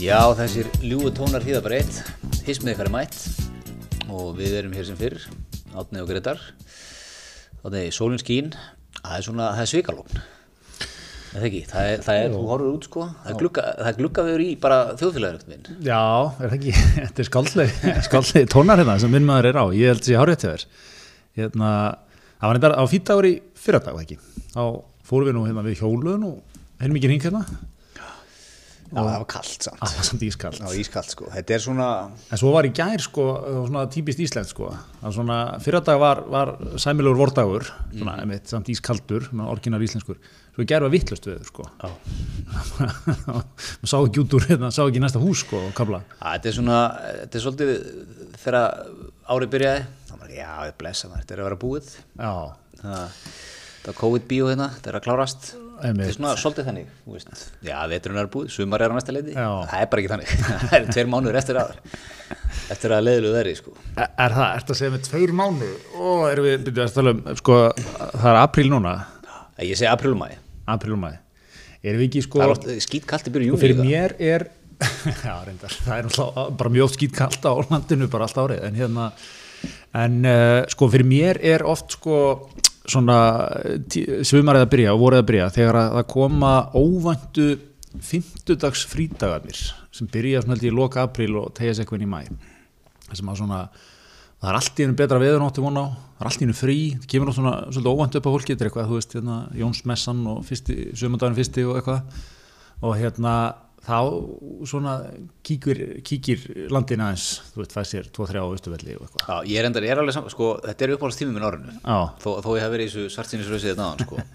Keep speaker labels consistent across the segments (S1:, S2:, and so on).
S1: Já, þessir ljúu tónar hýða bara eitt, hismið ykkar er mætt og við erum hér sem fyrr, Átni og Gretar, Átni, sólinn skín, það er svona, það er svikalón, það er ekki, það er, það er þú horfur út sko, það er, glugga, það er gluggavegur í bara þjóðfélaginu minn.
S2: Já, er það ekki, þetta er skaldlegi, skaldlegi tónar hérna sem minn maður er á, ég held að ég hár rétt hjá þér. Hérna, það var þetta á fýtagur í fyrradag, var það ekki? Þá fórum við nú hérna við hjóluðun og heilmikið hring hérna, Ah,
S1: Já, það var kallt samt.
S2: það var samt ískald.
S1: Já, ískallt sko, þetta er svona,
S2: En svo var í gær sko, það var svona típist íslenskt sko, það var svona, fyrradag var, var sæmilugur vordagur, svona, einmitt, samt ískaldur, með orginal íslenskur, svo í gær var vittlust við sko.
S1: Já.
S2: maður sá ekki út úr hérna, sá ekki næsta hús sko, kabla.
S1: Já, Ah, þetta er svona, þetta er svolítið þegar árið byrjaði, þá var ekki, já, ég blessa maður, þetta er að vera búið,
S2: Já,
S1: það það er Hérna, COVID-bíó hérna, þetta er að klárast þetta er
S2: Einmitt.
S1: svona svolítið þannig þú veist. já, veturinn er búið, sumar er á næsta leiti
S2: Já.
S1: það er bara ekki þannig, það er tveir mánuður eftir að eftir að leiðlu verið sko.
S2: Er er það, ertu að segja með tveir mánu og erum við, byrjuðu að tala um sko, það er apríl núna
S1: ég segi aprílumæði,
S2: apríl og maður, erum við ekki sko
S1: það er oft skítkallt í byrju
S2: sko,
S1: júni
S2: fyrir mér er já, reyndar, það er náttúrulega bara mjög oft skýt kallt á landinu bara allt árið, en hérna en uh, sko fyrir mér er oft sko svona svumarið að byrja og vorið að byrja þegar að það koma óvæntu fimmtudags frítagarnir sem byrja svona held ég í loka apríl og tegja sér eitthvað inn í mæ Það sem að svona það er allt í einu betra veður náttu von á það er allt í einu frí, það kemur nú svona svolítið óvænt upp á fólki, þetta er eitthvað, þú veist, hérna Jónsmessan og fyrsti, sömundagurinn fyrsti og eitthvað og hérna þá svona kíkir, kíkir landin aðeins, þú veist, fæð sér 2-3 á austuvelli og eitthvað
S1: já, ég er endar, ég er alveg saman sko, þetta er uppáhaldst tími minn árinu
S2: Já.
S1: þó, þó ég hef verið í þessu svartsinnisrösið þetta náðan sko.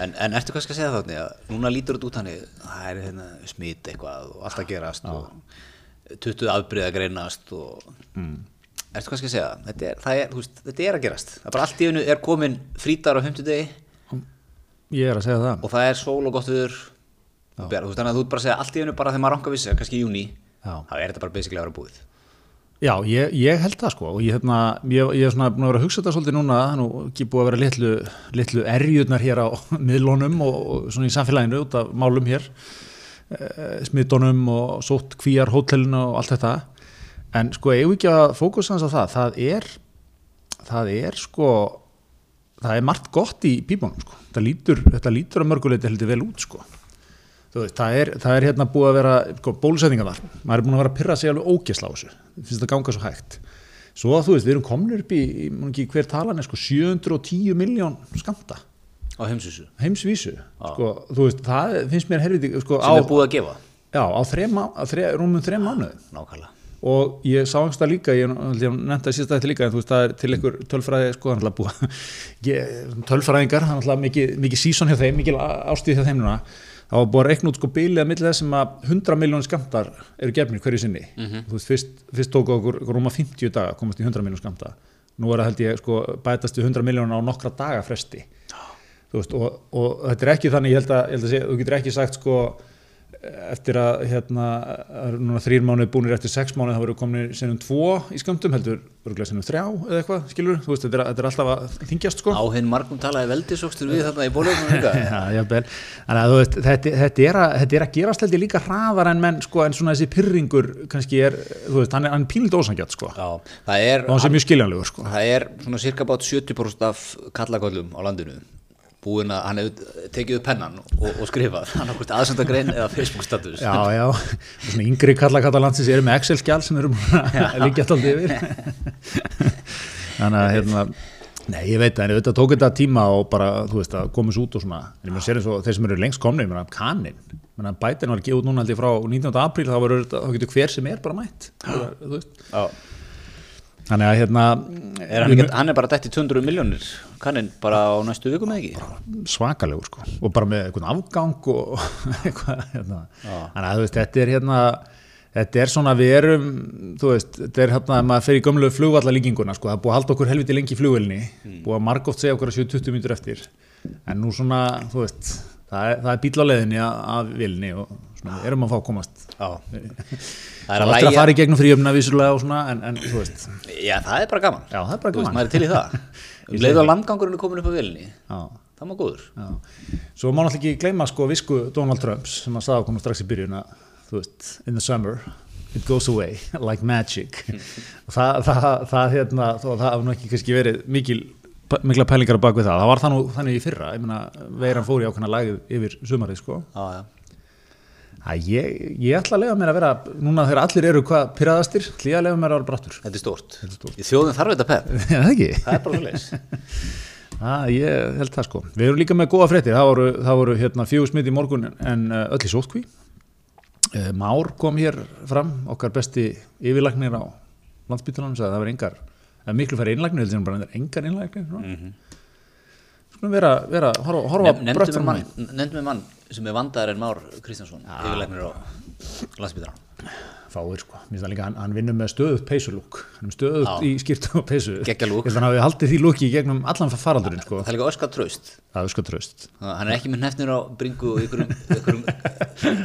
S1: en, en ertu kannski að segja það þannig að núna lítur þetta út þannig það er hérna, smit eitthvað og allt að gerast og 20 afbrið að greinast og
S2: Mm.
S1: ertu kannski að segja það þetta er, það er, þú veist, þetta er að gerast það er bara allt í einu er komin frítar á 50 degi
S2: Ég er að segja það
S1: og það er sól og gott viður og bjart, þú veist, þannig að þú ert bara að segja allt í einu bara þegar maður ranka vissi kannski í júni,
S2: Já.
S1: þá er þetta bara basically að vera búið
S2: Já, ég, ég held það sko og ég, hérna, ég, ég er svona búin að vera að hugsa þetta svolítið núna nú ekki búið að vera litlu, litlu erjurnar hér á miðlunum og, og svona í samfélaginu út af málum hér e, smittunum og sótt kvíjar hótelinu og allt þetta en sko eigum við ekki að fókusa hans á það það er, það er sko það er margt gott í pípunum sko. þetta lítur, þetta lítur að mörguleiti heldur vel út sko Þú veist, það er, það er hérna búið að vera sko, bólusetningar þar, maður er búin að vera að pyrra sig alveg ógesla á þessu, finnst þetta ganga svo hægt svo að þú veist, við erum komin upp í ég man ekki, hver talan er sko 710 miljón skamta,
S1: á heimsvísu,
S2: heimsvísu sko, þú veist, það finnst mér helviti sko,
S1: sem
S2: á,
S1: er búið að gefa
S2: já, á þrema, þre, rúmum þrem mánuðum
S1: nákvæmlega
S2: og ég sá einhversta líka, ég nefndi að sísta þetta líka en þú veist það er til einhver tölfræði sko, hann ætla að búa, ég, tölfræðingar hann ætla mikið, mikið síson hjá þeim, mikið ástíð hjá þeim núna, þá var búið að reikna út sko bílið að milli þess sem að 100 miljónir skamtar eru gefnir hverju sinni þú veist, fyrst, fyrst tóku okkur okkur rúma 50 daga að komast í 100 miljónir skamta nú er það held ég sko bætast í 100 miljónir á nokkra daga fresti þú veist, og, og þetta er ekki þannig ég held að, ég held að segja, þú getur ekki sagt sko eftir að hérna að eru núna þrýr mánuði búinir eftir sex mánuði þá verður komin sinnum tvo í skamtum heldur örgulega sinnum þrjá eða eitthvað skilur þú veist þetta er, þetta er alltaf að þingjast sko
S1: á hinn margum talaði veldisókstur við þarna í bólöfnum líka
S2: Já, jafnvel. Þannig að þú veist, þetta, þetta, er að, þetta er að gerast heldur líka hraðar en menn sko en svona þessi pyrringur kannski er, þú veist, hann er, hann er pílind ósangjart sko og
S1: Já, það er,
S2: hann sé mjög skiljanlegur sko
S1: það er svona cirka bát 70% af kallaköllum á landinu búin að hann hefur tekið upp pennan og, og skrifað, hann okkur aðsendagrein eða Facebook status
S2: Já, já, og svona yngri kalla kalla landsins eru með Excel-skjál sem eru líka alltaf yfir Þannig að hérna Nei, ég veit það, en auðvitað tók þetta tíma og bara, þú veist, að komast út og svona en ég mér sér eins og þeir sem eru lengst komni, ég meina kaninn, ég meina bætin var gefið út núna held ég frá 19. apríl, þá, verður þetta- þá getur hver sem er bara mætt, Bara, þú veist
S1: Já.
S2: Þannig að hérna
S1: Er hann, ekki, hann er bara dætt í 200 miljónir kanninn bara á næstu vikum eða ekki
S2: svakalegur sko og bara með einhvern afgang og eitthvað hérna. þannig að þú veist, þetta er hérna þetta er svona við erum þú veist, þetta er hérna, ef maður fer í gömlu flugvallalíkinguna sko, það er búið að halda okkur helviti lengi í flugvelni
S1: Hmm.
S2: búið að margótt segja okkur að séu 20 mínútur eftir en nú svona, þú veist það er, það er bíl á leiðinni að, að vilni og svona, við erum að fá að komast
S1: Já. Það
S2: það
S1: er
S2: er
S1: að
S2: eftir að
S1: læja
S2: fara í gegnum fríöfna vissulega og svona, en, en þú veist
S1: Já, það er bara gaman
S2: Já, það er bara
S1: Þú veist,
S2: gaman.
S1: maður er til í það Um leiðu að landgangurinn er komin upp á vilni
S2: já
S1: Það má góður
S2: Já. Svo má náttúrulega ekki gleyma sko visku Donald Trumps sem að sagði okkur strax í byrjun að þú veist, in the summer it goes away like magic og það, það, það hérna þó að það hafði nú ekki kannski verið mikil mikla pælingar á bak við það, það var það nú þannig í fyrra, ég meina veiran fór í ákveðna lagið yfir sumarið sko
S1: já, já.
S2: að ég, ég ætla að lega mér að vera núna þegar allir eru hvað pyrraðastir, ætla ég að lega mér að vera brattur
S1: Þetta er stórt. Í þjóðin þarf þetta pepp.
S2: er það ekki?
S1: Það er bara svo leys.
S2: Já, ég held það sko. Við erum líka með góða fréttir, það voru, það voru hérna, fjögur smitt í morgun en uh, öll í sótkví. Uh, Már kom hér fram, okkar besti yfirlagnir á landsbytunum, sagði að það var engar, það er miklu færri innlagnir, heldur en bara reyndar engar innlagnir. Mm -hmm. Skulum vera, vera horfa, horfa brött
S1: Nefndum
S2: fram á
S1: mann,
S2: veginn.
S1: nefndum Mhm. við mann sem er vandaðar en Már Kristjánsson, yfirleiknir á landsbytaran.
S2: Fáir sko, mér finnst það líka, hann, hann vinnur með stöðugt peysulúk, hann er stöðugt
S1: Já.
S2: í skýrtu og peysu.
S1: Geggjað lúk.
S2: Ég held að hann hafi haldið því lúki í gegnum allan faraldurinn sko,
S1: Það er líka öskar traust.
S2: það er sko tröst.
S1: Þannig að Hann er ekki með hnefnir á bringu og ykkurum, ykkurum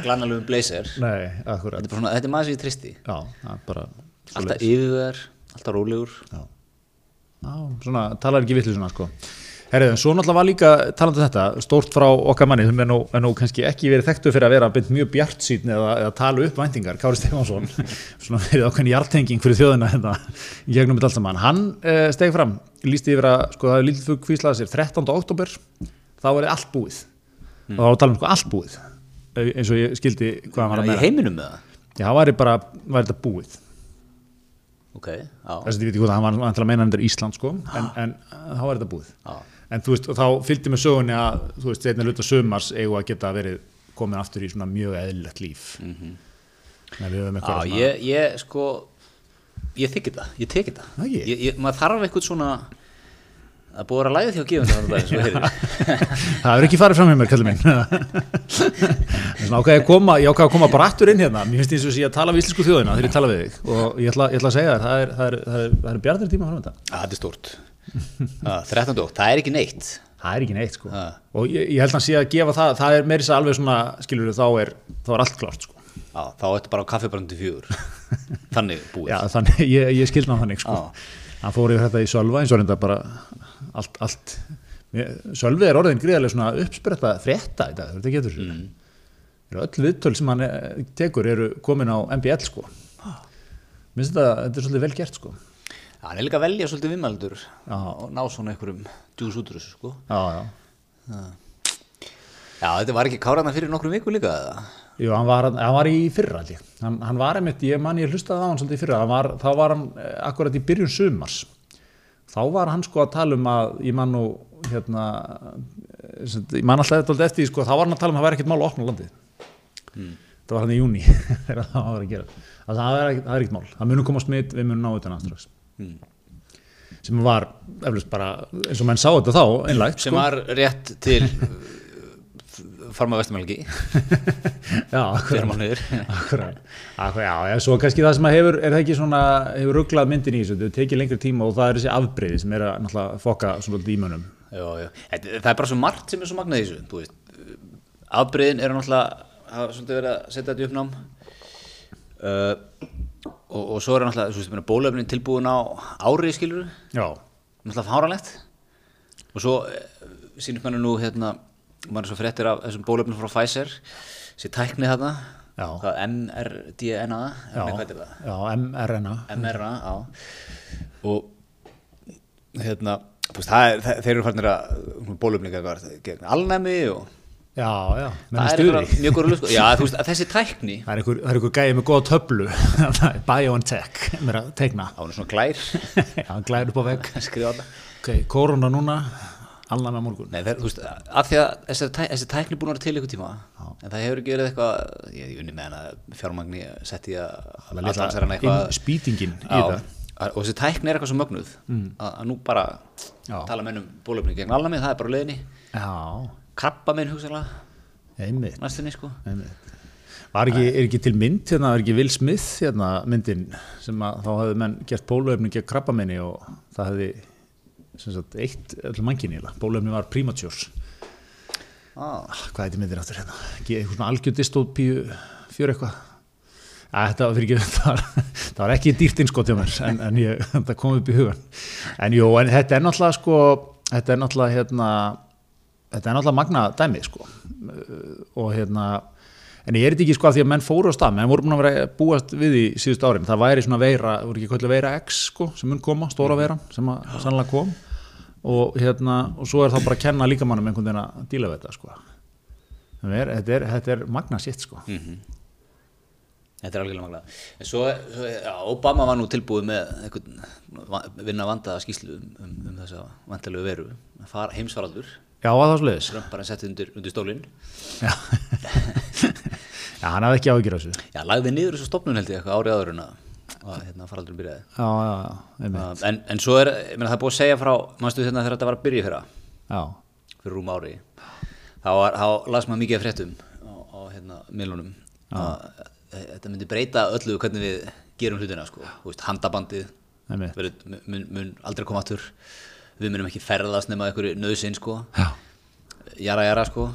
S1: glannalöfum blazer.
S2: Nei, akkurat.
S1: Þetta er, bara svona, þetta er maður sem ég tristi.
S2: Já, það er bara...
S1: Alltaf yfirvegar, alltaf rólegur.
S2: Já, Já svona, talar ekki vitlu svona sko. Herrið, en svo náttúrulega var líka talandi um þetta, stórt frá okkar manni sem er nú, er nú kannski ekki verið þekktu fyrir að vera beint mjög bjart síðan eða, eða tala upp væntingar, Kári Stefánsson svona verið ákveðin hjartenging fyrir þjóðina hérna, í gegnum þetta allt saman hann eh, steg fram, lísti yfir að sko, það er lítið fugg kvíslaði sér 13. oktober þá er allt búið og þá var að tala um sko allt búið eh, eins og ég skildi hvað hann var
S1: Það er
S2: að
S1: í
S2: meira
S1: heiminum með það.
S2: Já, það væri bara, væri þetta búið
S1: Ok, já.
S2: þess að ég veit ekki hvort að hann var væntanlega að meina þetta Ísland sko, en, en uh, þá er þetta búið
S1: Já.
S2: en þú veist, og þá fylgdi með sögunni að þú veist, þeirna luta sömars eigum að geta verið komin aftur í svona mjög eðlilegt líf mm við höfum
S1: Mhm. Já,
S2: eitthvað
S1: ég, ég sko, ég þykir það, ég tekir það.
S2: Það ekki?
S1: Ég, ég, maður þarf eitthvað svona, það er búið að vera læðið hjá gefum það þannig að það
S2: það er ekki farið fram hjá mér, kallum minn þess að ákvæði að koma ég ákvæði að koma bara aftur inn hérna mér finnst eins og sé að tala við íslensku þjóðina þegar ég tala við þig og ég ætla, ég ætla að segja þér, það er, það er, það er, það er bjartir tíma fram þetta
S1: Já, Þetta er stórt. Já, 13. ok, það er ekki neitt.
S2: það er ekki neitt sko
S1: Ha.
S2: og ég, ég held að hann sé að gefa það, það er meiri sér alveg svona skilur þá er, þá er allt klárt sko
S1: Já, þá ertu bara á kaffibrandu fjögur. Þannig búið.
S2: Já, þannig, ég, ég skildi hann þannig sko.
S1: Já.
S2: Hann fór yfir þetta í Sölva eins og reynda bara allt, allt. Mér- Sölvi er orðin gríðarlega svona uppspretta frétta í dag, þetta getur mm. öll viðtöl sem hann eh, tekur eru komin á MBL sko. Minnst þetta, þetta er svolítið vel gert sko.
S1: Já, hann er líka að velja svolítið vimaldur
S2: Já.
S1: og ná svona einhverjum djús út úr þessu, sko.
S2: Já, já.
S1: Já, þetta var ekki kárana fyrir nokkrum viku líka, eða?
S2: Jú, hann var, hann var í fyrra allir. Hann, hann var einmitt, ég man ég hlustaði á hann svolítið í fyrra, hann var, þá var hann eh, akkurat í byrjun sumars. Þá var hann sko að tala um að, ég man nú, hérna, eh, sem, ég man alltaf þetta eftir, því, sko, þá var hann að tala um að það væri ekkert mál að opna landið. Það var hann í júni, þegar það var að gera. Það, það, er, ekkert- það er ekkert mál, það munum koma smitt, við munum ná þetta náttúrulega. Mm. Sem var, eflust bara, eins og menn sá þetta þá, einlægt.
S1: Sem var rétt til uh, farma vestumælgi,
S2: sko. Já, akkurat.
S1: fyrir mánuður.
S2: Akkurat, akkurat, já, já, svo kannski það sem að hefur, er það ekki svona, hefur rugglað myndin í þessu, þetta hefur tekið lengri tíma og það er þessi afbreyði sem er að náttúrulega fokka svona dímunum.
S1: Jó, jó. Þetta, það er bara svo margt sem er svo magnað í þessu, þú veist. Afbreyðin eru náttúrulega, hafa svolítið verið að setja þetta í uppnám. Uh, og, og svo eru náttúrulega, þú veist, bólöfnin tilbúin á ári, skilur
S2: Já,
S1: náttúrulega fáralegt og svo sínum henni nú hérna, maður er svo fréttir af þessum bólöfnum frá Pfizer sér tækni þarna
S2: Já.
S1: hvað, MRDNA
S2: já,
S1: nei, hvað er það?
S2: já, mRNA,
S1: MRNA á. og hérna þú veist, það, er- þe- þeir eru farnir að bólöfningar gegn alnæmi og
S2: já, já, menn
S1: það
S2: í
S1: er
S2: stuði.
S1: einhverjar mjög góður lög já, þú veist, að þessi tækni
S2: Það er einhver, það er einhver gæði með góða töflu, það er BioNTech, mér að tegna,
S1: á hún er svona glær
S2: já, hann glæður upp á vegg,
S1: skrifa þetta
S2: ok, korona núna, allan með morgun.
S1: Nei, þeir, þú veist, af því að þessi, tæ, þessi tækni er búin að vera til ykkur tíma en það hefur ekki verið eitthvað, ég hef unni með hana fjármagni sett í að allansar hana eitthvað
S2: Inn spýtingin í
S1: Já,
S2: þetta. Mm.
S1: og þessi tækni er eitthvað svo mögnuð að, að nú bara
S2: Já.
S1: tala með um bólöfni gegn alnami, það er bara á leiðinni
S2: Já,
S1: krabba minn hugsanlega
S2: einmitt.
S1: næstinni sko
S2: Einmitt. Var ekki, er ekki til mynd hérna, er ekki Will Smith hérna myndin sem að þá hafði menn gert bóluefni gegn krabbaminni og það hefði sem sagt eitt öll manginni bóluefni var Primatures
S1: ah,
S2: Ah, hvað heitir myndir áttur hérna Ekki eitthvað svona algjör dystopíu fjör eitthvað Æ, þetta var fyrir ekki það var, það var ekki dýrt innskot hjá mér en, en ég, það kom upp í hugan en jú, en þetta er náttúrulega sko þetta er náttúrulega Uh, hérna þetta er náttúrulega magna dæmi sko Eh, og hérna en ég er þetta ekki sko að því að menn fóru á stað menn voru búin að vera búast við í síðust árin það væri svona veira, voru ekki kvöldu veira X sko, sem mun koma, stóra veiran sem að sannlega kom og hérna og svo er það bara að kenna líkamannum einhvern veginn að díla við þetta sko Það er, þetta, er, þetta er magna sitt sko
S1: Þetta er algjörlega maglað. En svo, svo já, Obama var nú tilbúið með einhvern va- vinna vandaða skýslu um, um, um þessa vantalegu veru. Far, heimsfaraldur,
S2: Já, að það sliðis
S1: Trump bara setti undir, undir stólinn.
S2: Já, já hann hafði ekki áhyggjur af þessu
S1: Já, lagði niður þessu stofnun held ég eitthvað árið áður en að að, hérna, faraldur byrjaði.
S2: Já, já, já, einmitt
S1: Uh, en, en svo er, ég meina það er búið að segja frá, mannstu hérna þegar þetta var að byrja í fyrra,
S2: Já,
S1: fyrir rúm ári, þá, var, þá las maður mikið af fréttum á, á hérna, milunum. Að, að þetta myndi breyta öllu hvernig við gerum hlutina, sko. Þú veist, handabandið,
S2: einmitt
S1: verið, mun, mun aldrei koma aftur við munum ekki ferðast nema einhverju nöðsinn sko,
S2: Já,
S1: jara jara sko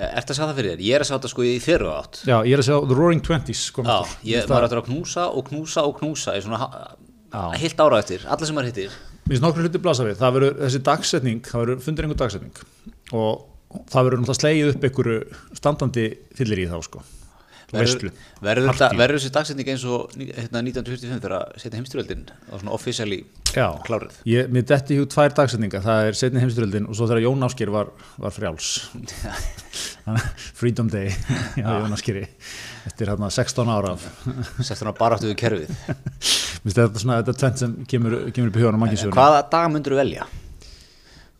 S1: Ertu að segja það fyrir þér? Ég er að segja þetta sko í fyrru átt
S2: já ég er að segja The Roaring Twenties kom
S1: Já,
S2: eftir.
S1: ég maður eftir að knúsa og knúsa og knúsa í svona
S2: Já.
S1: heilt ára eftir, alla sem maður hittir
S2: Mér finnst nokkru hluti blasa við, það verður þessi dagsetning, það verður fundur einhver dagsetning og það verður náttúrulega slegið upp einhverju standandi fyllir í þá sko Veistlu
S1: Verður, verður, þetta, verður þessi dagsetning eins og ní- hérna, 1945 þegar að setja heimstyrjöldin og svona officially
S2: Já,
S1: klárið
S2: ég, mér detti hjá tvær dagsetningar, það er setni heimsturöldin og svo þegar Jón Áskir var, var frjáls Freedom Day á Jón Áskiri eftir hérna 16 ára af
S1: settur hann bara aftur við kerfið
S2: Vist, þetta er svona þetta tvent sem kemur, kemur upp í huganum
S1: En
S2: manginsjóðunum.
S1: Hvaða dag myndur þú velja?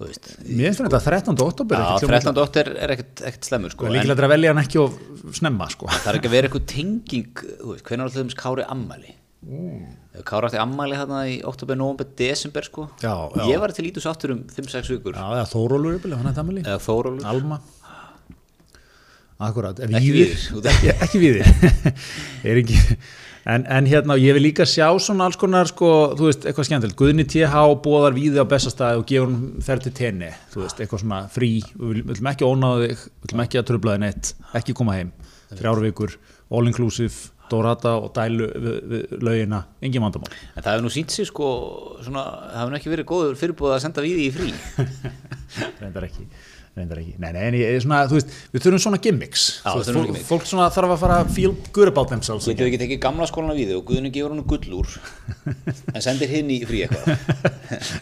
S1: Þú veist
S2: Mér finnst þetta 13. oktober
S1: Já,
S2: ekki hljóma illa.
S1: 13. er, er ekkert, ekkert slemmur sko,
S2: Og
S1: en-
S2: Líkilega er að velja hann ekki of snemma sko.
S1: Það er ekki að vera eitthvað tenging, þú veist, hvernig alltaf þeim Kári ammali? Mm. Kári átti ammali hérna í oktober, november, desember sko.
S2: Já, já.
S1: Ég var til lítus áttur um 5-6 vikur.
S2: Já, eða Þórólur yfirlega, hann hefði Amelie
S1: Eða Þórólur.
S2: Alma Akkurat, ef
S1: Ekki
S2: ég við
S1: Víðir.
S2: ekki, ekki við er ekki en, en hérna, ég vil líka sjá svona alls konar sko, þú veist, eitthvað skemmtilegt Guðni TH bóðar víði á bestastæði og gefur hún ferð til tenni, þú veist, eitthvað svona frí, við vil- viljum ekki ónáða þig við viljum ekki að tröfla þig neitt, ekki koma heim þrjár vikur, all inclusive Dorata og dælu við, við lögina, engin vandamál
S1: En það hefur nú sínt sig sko, svona, það hefur nú ekki verið góður fyrirbúið að senda við í frí.
S2: reyndar ekki reyndar ekki, nei, nei, en ég er svona, þú veist við þurfum svona gimmicks,
S1: Já,
S2: Þú veist,
S1: þurfum
S2: fólk,
S1: gimmicks.
S2: fólk svona þarf að fara að feel good about themselves
S1: Getur við ekki tekið gamla skólan að við og Guðinu gefur hann gullúr, en sendir hinn í frí eitthvað.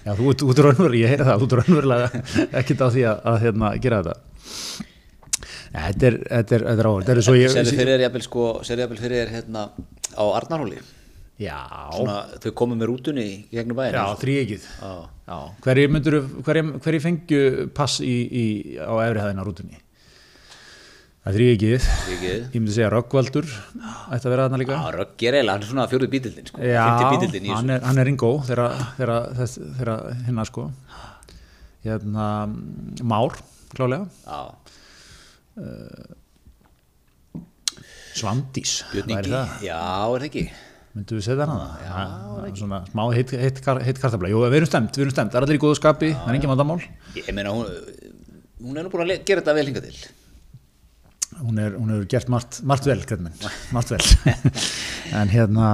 S2: já, þú ert- þú ert raunverulega, ég heyri það, þú ert raunverulega ekkert á því að, að hérna, gera þetta Nei, þetta er, þetta er, þetta er áhverð, þetta er svo ég
S1: Serðu fyrir þér, jafnvel sko, serðu jafnvel fyrir þér hérna á Arnarhóli.
S2: já,
S1: Svona, þau komum með rútunni í gegnum sko. bæðinu.
S2: já, þrýegið
S1: Já.
S2: já, hverju myndur hverju, hverju fengju pass í, í, á efrihæðina rútunni það er þrýegið
S1: Þríeykið.
S2: ég myndi segja Röggvaldur ætti að vera þarna líka
S1: Já, Rögg er eiginlega, hann er svona fjórið bítildin sko,
S2: Já,
S1: fymti bítildin í þessu.
S2: hann er, hann er ringó þegar þegar- þess- þegar hérna sko hérna, mm, Már, klálega
S1: Já,
S2: Svandís,
S1: Björn
S2: væri
S1: Ingi, Ah,
S2: það
S1: já, er það ekki
S2: myndum við setja hann að það svona smá heitt heit, heit kartabla jú, við erum stemt, við erum stemt, það er allir í góðu skapi það er engin vandamál
S1: Ég meina, hún, hún er nú búin að le- gera þetta vel hinga til
S2: hún er, hún er gert margt, margt vel, greit minn margt vel en hérna,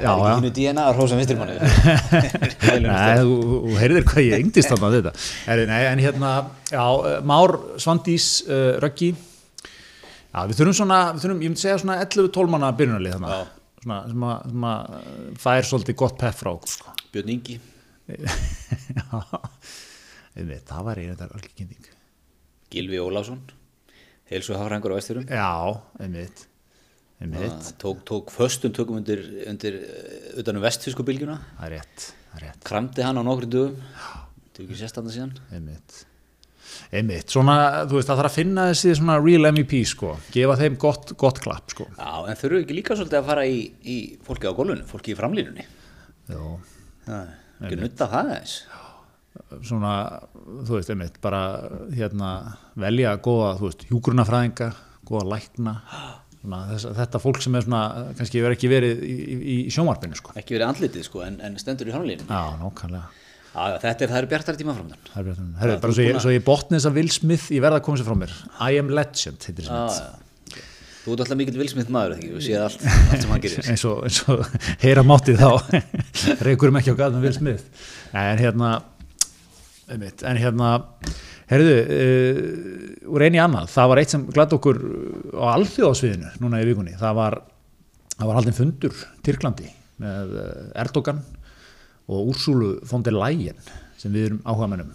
S2: já,
S1: Það er
S2: já
S1: ekki hínu DNA að hrósa vinstrimanni
S2: Nei, þú, þú heyrðir hvað ég yngdist þarna við þetta. Heri, nei, en hérna, já, eh, Már, Svandís, uh, Röggi, já, við þurfum svona, við þurfum, ég myndi segja svona 11-12 manna byrjunarlið þarna,
S1: Já.
S2: svona, sem að, sem að eh, fær svolítið gott peff frá okkur, sko.
S1: Björn Ingi
S2: já, Einmitt, það var einhvern veginn algjör kynning.
S1: Gilvi Ólásson Helsu Hafrængur á Vesturum
S2: Já, einmitt, einmitt,
S1: tók, tók föstum tökum undir, undir eh, utan um vestfísku bylgjuna
S2: það er rétt, það er rétt.
S1: kramdi hann á nokkrum dögum Þetta er ekki sérstanda síðan
S2: einmitt einmitt, svona, þú veist, það þarf að finna þessi svona real MVP, sko, gefa þeim gott, gott klapp, sko
S1: Já, en þurfum við ekki líka svolítið að fara í, í fólki á gólfinu, fólki í framlínunni
S2: Jó.
S1: Það er ekki nutta það eins
S2: svona, þú veist, einmitt bara, hérna, velja góða, þú veist, hjúgrunafræðinga góða lækna svona, þess, þetta fólk sem er svona, kannski verið ekki verið í, í, í sjónvarpinu, sko
S1: Ekki verið andlitið sko, en, en stendur í framlínunni
S2: Já, nákvæmlega
S1: Já, já, þetta er, það eru bjartari tíma framöndan
S2: Það er bjartan. Herru, bara svo ég, svo ég botni þess að Will Smith, ég verða að koma sér frá mér I am legend, heitir þess
S1: Já,
S2: að
S1: já. Þú ert alltaf mikill vilsmynd maður, er það ekki? Við séð allt, allt sem hann gerir.
S2: eins og, eins og um heyra mátti þá reykurum ekki á gæðum Will Smith Nei, en hérna Einmitt. En hérna, herðu, uh, úr eini annað, það var eitt sem glatt okkur eh, á alþjóðasviðinu núna í vikunni, það var, það var haldin fundur Tyrklandi með eh, Erdogan og Úrsúlu von der Leyen sem við erum áhugamennum,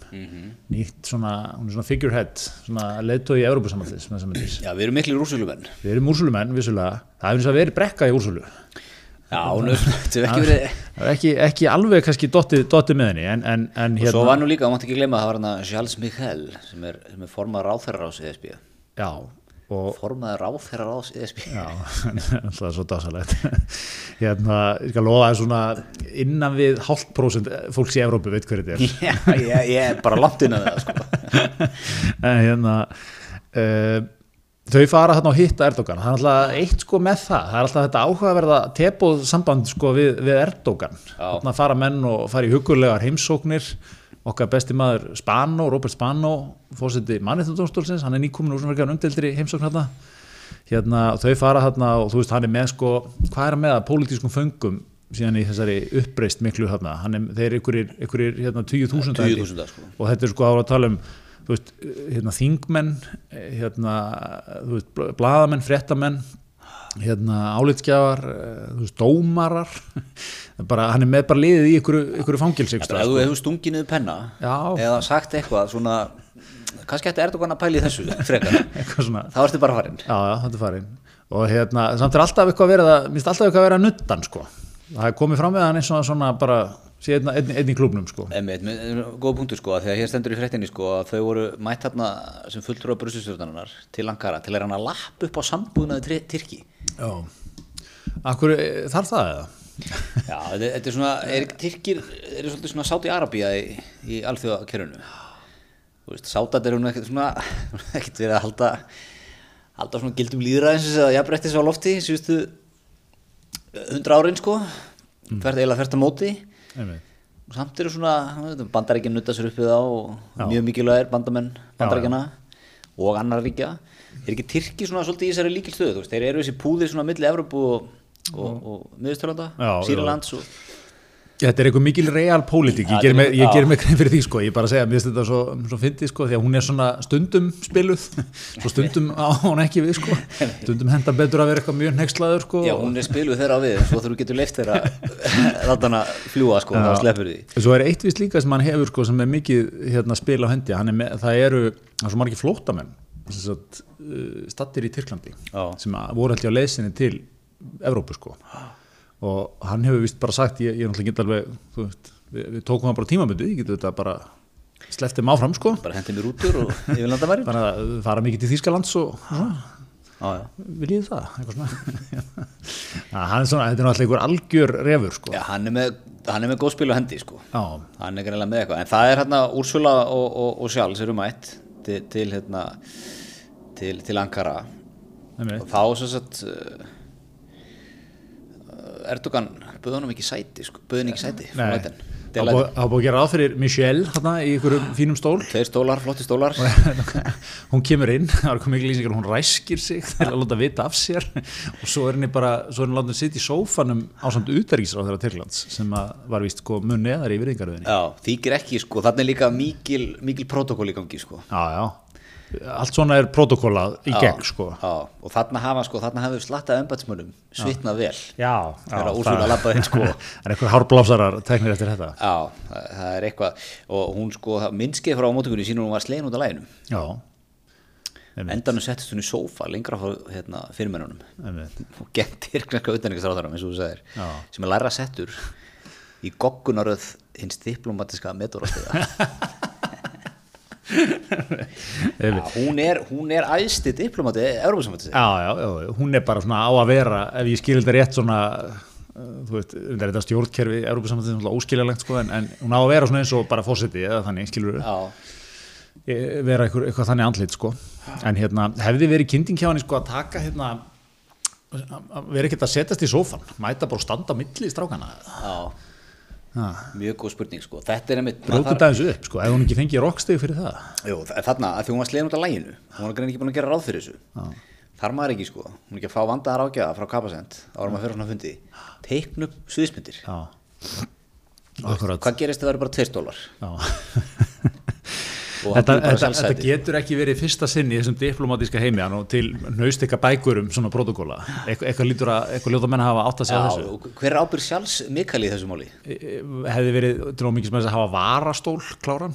S2: nýtt svona, hún er svona figurehead, svona leiðtói í Evrópusamhaldis, með samhaldis.
S1: Já, við erum miklu rúsulumenn.
S2: Við erum úrsulumenn, vissulega, það hefur eins og verið brekka í úrsulu,
S1: Já, hún er, þetta er ekki verið...
S2: það er ekki, ekki alveg kannski dottið, dottið með henni, en, en, en hérna-
S1: Og svo var nú líka, þú mátt ekki glemma, það var hann að Charles Michel sem er, sem er E formað ráþherrar ás ESB.
S2: já, og,
S1: Formað ráþherrar ás ESB.
S2: Já, það er svo dásalegt. Hérna, ég skal lofa að svona innan við hálft prósent fólks í Evrópu veit hverju þetta er.
S1: Já, ég, ég er bara langt inn að það, sko.
S2: En hérna, uh, þau fara hérna og hitta Erdogan. Það er alltaf eitt sko með það. Það er alltaf þetta áhugaverða teboð samband sko við, við Erdogan.
S1: Já.
S2: Þarna fara menn og fara í hugurlegar heimsóknir. Okkar besti maður Spano, Robert Spano, fórseti mannréttundómstólsins, hann er nýkomin úr svona verkefni umdeldri heimsókn hérna. hérna, og þau fara þarna og þú veist hann er með sko, hvað er hann með að pólitískum föngum síðan í þessari uppreist miklu þarna, hann er, þeir eru ykkurir, ykkurir hérna 20.000 held ég.
S1: 20.000, sko.
S2: og þetta er sko ára að tala um þú veist, hérna þingmenn hérna, þú veist, bla- blaðamenn fréttamenn, hérna álitskjafar, eh, þú veist, dómarar bara, hann er með bara liðið í ykkur, ykkur
S1: Þetta
S2: fangilsíksta
S1: er að þú hefur stungið niður penna
S2: Já.
S1: eða sagt eitthvað svona, kannski ætti Erdogan að pæli þessu frekar.
S2: eitthvað svona
S1: Þá ertu bara farinn.
S2: Já, já, þetta er farin og hérna, samt er alltaf eitthvað að vera það, minnst alltaf eitthvað að vera að nuttan sko það er komið fram með hann eins og svona bara sé einn, einn, einn í klubnum sko
S1: Einmitt, með- góð punktur sko, af því að hér stendur í fréttinni sko að þau voru mætt þarna sem fulltrúa brusistjórnarinnar til Ankara til að reyna að lappa upp á sambúðnaði Tyrki.
S2: Já Akkur, eh, þarf það eða?
S1: Já, þetta þetta er svona, er, Tyrkir eru svolítið svona sátt í Arabía í, í alþjóðakerfinu. Þú veist, sátat eru nú ekkert svona, ekkert verið að halda, halda svona gildum líðræðins eða jafnbrettis á lofti síðustu hundra árin sko,
S2: Mm.
S1: hvert eiginlega hvert að móti.
S2: Einmitt.
S1: Og samt eru svona, bandaríkinn nutta sér upp við þá og mjög mikilvægir bandamenn bandaríkjana og annar ríkja. Er ekki Tyrki svona svolítið í þessari líkilstöðu, þú veist, þeir eru þessi púði svona milli Evrópu og, og, og miðustölanda,
S2: Já, já.
S1: Sýralands og...
S2: Þetta er eitthvað mikil realpólitík,
S1: Já,
S2: ég geri mig-
S1: þetta er-
S2: ég
S1: já.
S2: gerir mig grein fyrir því sko, ég bara segja, mér finnst þetta svo, svo fyndi sko, því að hún er svona stundum spiluð, svo stundum á hún ekki við sko, stundum henda betur að vera eitthvað mjög nexlaður sko.
S1: Já, hún er spiluð þeirra á við, svo þú getur leift þeirra þarna fljúa sko, þá sleppur því.
S2: En Svo er eitt vist líka sem hann hefur sko, sem er mikið hérna, spil á hendi, Hann er með, það eru það er svo margir flótamenn satt, uh, stattir í Tyrklandi
S1: Já.
S2: sem að voru held ég á leysinni til Evrópu sko og hann hefur vist bara sagt, ég, ég er náttúrulega get alveg þú veist, við, við tókum hann bara tímabundu ég getur þetta bara sleftið maður áfram sko
S1: Bara hendi mér út úr og yfir landamæri.
S2: þannig að þau fara mikið til Þýskalands og og svona
S1: Já, já.
S2: viljið þið það, eitthvað svona Að hann er svona, þetta er náttúrulega einhver algjör refur sko
S1: Já, hann er með, hann er með góð spil á hendi sko.
S2: Já.
S1: Hann er greinlega með eitthvað, en það er hérna Úrsula og, og, og Sjálfs eru mætt til, til hérna, til, til Ankara.
S2: Einmitt.
S1: Og þá sem sagt, uh, Erdogan böði honum ekki sæti sko, böði henni ekki sæti. frá
S2: Nei,
S1: lætin.
S2: það búið það búið að gera ráð fyrir Michelle hérna í einhverjum fínum stól
S1: Tveir stólar, flotti stólar.
S2: hún kemur inn, það er komið mikil lýsingar hún ræskir sig, það er að láta vita af sér og svo er henni bara, svo er henni látið að sitja í sófanum ásamt útæríksráð þeirra Tyrklands sem að var víst sko mun neðar í virðingaröðinni
S1: Já, þýkir ekki sko, þannig líka mikil, mikil protokól í gangi sko.
S2: já, já, allt svona er protokólað í gegn sko já,
S1: Já, og þarna hafa sko, þarna hafa slattað embatsmönnum svitnað vel.
S2: já,
S1: Þegar Úrsúla
S2: það-
S1: labbaði inn, sko.
S2: það er eitthvað hárblafsarar teknir eftir þetta
S1: Já, það, það er eitthvað, og hún sko, minnskið frá mótökunni sínur hún var slegin út af læginum.
S2: já, Einmitt.
S1: Endanum settist hún í sófa lengra frá hérna, fyrirmennunum
S2: einmitt
S1: og gengt tyrkneska utanriksráðarum, eins og þú sagðir,
S2: Já.
S1: sem er læra settur í goggunaröð hins diplomatiska metorastega.
S2: Einmitt.
S1: hún er, hún er æðsti diplomati, Európa-samvættið.
S2: já, já, já, já, hún er bara svona á að vera ef ég skil þetta rétt svona uh, þú veist, þetta er þetta stjórnkerfi Európa-samhandið er náttúrulega óskiljalegt sko en, en hún á að vera svona eins og bara fósiti eða þannig, skilur við
S1: Já,
S2: vera eitthvað, eitthvað þannig andlit sko en hérna, hefði verið kynding hjá hann sko að taka hérna að vera ekkert að setjast í sófan mæta bara og standa á milli í strákana
S1: já,
S2: ja.
S1: mjög góð spurning sko. Þetta er einmitt,
S2: brjóta þetta aðeins upp sko, ef hún ekki fengið rockstig fyrir það
S1: Jú, þa- þarna, að því hún var slegin út af læginu hún var greinilega ekki búin að gera ráð fyrir þessu þar maður ekki sko, hún er ekki að fá vandaðar ágjaða frá kapasend, árum að fyrir svona fundi teikn upp sviðismyndir
S2: já, akkurat
S1: hvað gerist ef það eru bara tveir stólar
S2: já
S1: Og hann
S2: þetta,
S1: býr bara
S2: þetta,
S1: sjálfsæti.
S2: þetta getur ekki verið fyrsta sinn í þessum diplomatíska heimi hann og til naust eitthvað bækurum svona protokóla, Eitthvað- eitthvað lítur að eitthvað ljóta menn hafa átt að segja þessu
S1: og hver ábyrð sjálfs Mikael í þessu máli?
S2: E- hefði verið til ómikið sem þess að hafa varastól kláran,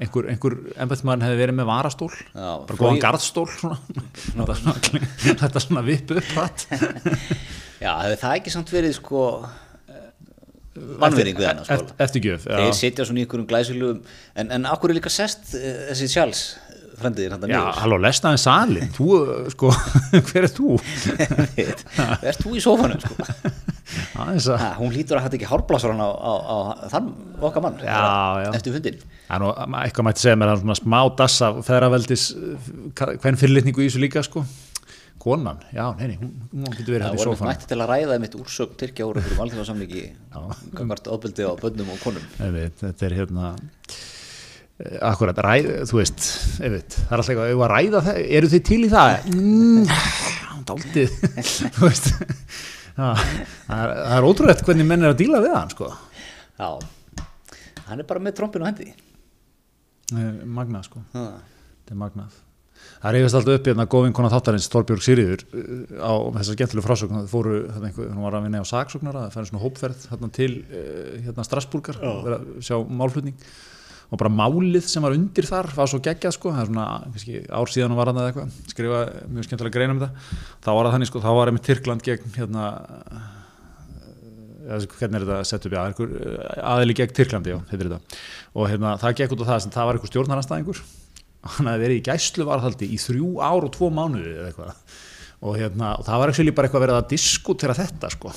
S2: einhver, einhver embættmann hefði verið með varastól
S1: Já,
S2: bara
S1: flói-
S2: góðan garðstól svona. þetta er svona, þetta er svona vipu pratt
S1: Já, hefði það ekki samt verið sko vannvering við hann á skóla?
S2: eftirgjöf já.
S1: sko? Þeir sitja svona í einhverjum glæsulugum en, en akkur er líka sest eh, þessi sjálfs frendiðir hann
S2: já, halló, lesta þeim salin þú, uh, sko, hver er þú?
S1: nýður Verst þú í sófanum sko
S2: aðeins að
S1: ha, Hún hlýtur að þetta ekki hárblásur hann á, á, á þann okkar mann
S2: Já,
S1: bara
S2: já.
S1: Eftir fundin
S2: Það er nú, eitthvað mætti segja mér að svona smá dassa feðraveldis, eh, hvern fyrirlitningu í þessu líka sko, konan já, neini, hún, hún getur
S1: Það
S2: verið hætti í
S1: voru
S2: sófanum
S1: mætti til að ræða mitt úrsögn Tyrkja úr okkur um alþjóðasamlíki Gangvart ofbeldi á bönnum og konum
S2: Einmitt, þetta er hérna eh, akkurat, ræð, þú veist einmitt, það er alltaf eitthvað, eigum við að ræða það eru þið til í það? Mm, daldið, þú veist það, það er, það er ótrúlegt hvernig menn er að díla við hann sko
S1: Já, hann er bara með trompin á hendi
S2: Eh, magnað sko
S1: ha.
S2: Þetta er magnað. Það reyfist alltaf upp hérna góðvinkona þáttarins Þorbjörg Sýriður á þessar gentilegu frásögn það fóru, þarna einhver, hún var að vinna á saksóknara það færi svona hópferð þarna til eh, hérna Strassbúrgar, vera að sjá málflutning og bara málið sem var undir þar var svo geggjað sko, það er svona kannski, ár síðan hún var hann eða eitthvað, skrifa mjög skemmtilega greina um þetta, þá var það þannig sko þá var einmitt Tyrkland gegn hérna eða hvernig er þetta sett upp í aðeinkur aðili gegn Tyrklandi, já, heitir þetta og hérna, það gekk út á það sem það var einhver stjórnarnastæðingur hann hafði verið í gæsluvarðhaldi í þrjú ár og tvo mánuði eða eitthvað og hérna, og það var ekki bara eitthvað verið að diskutera þetta sko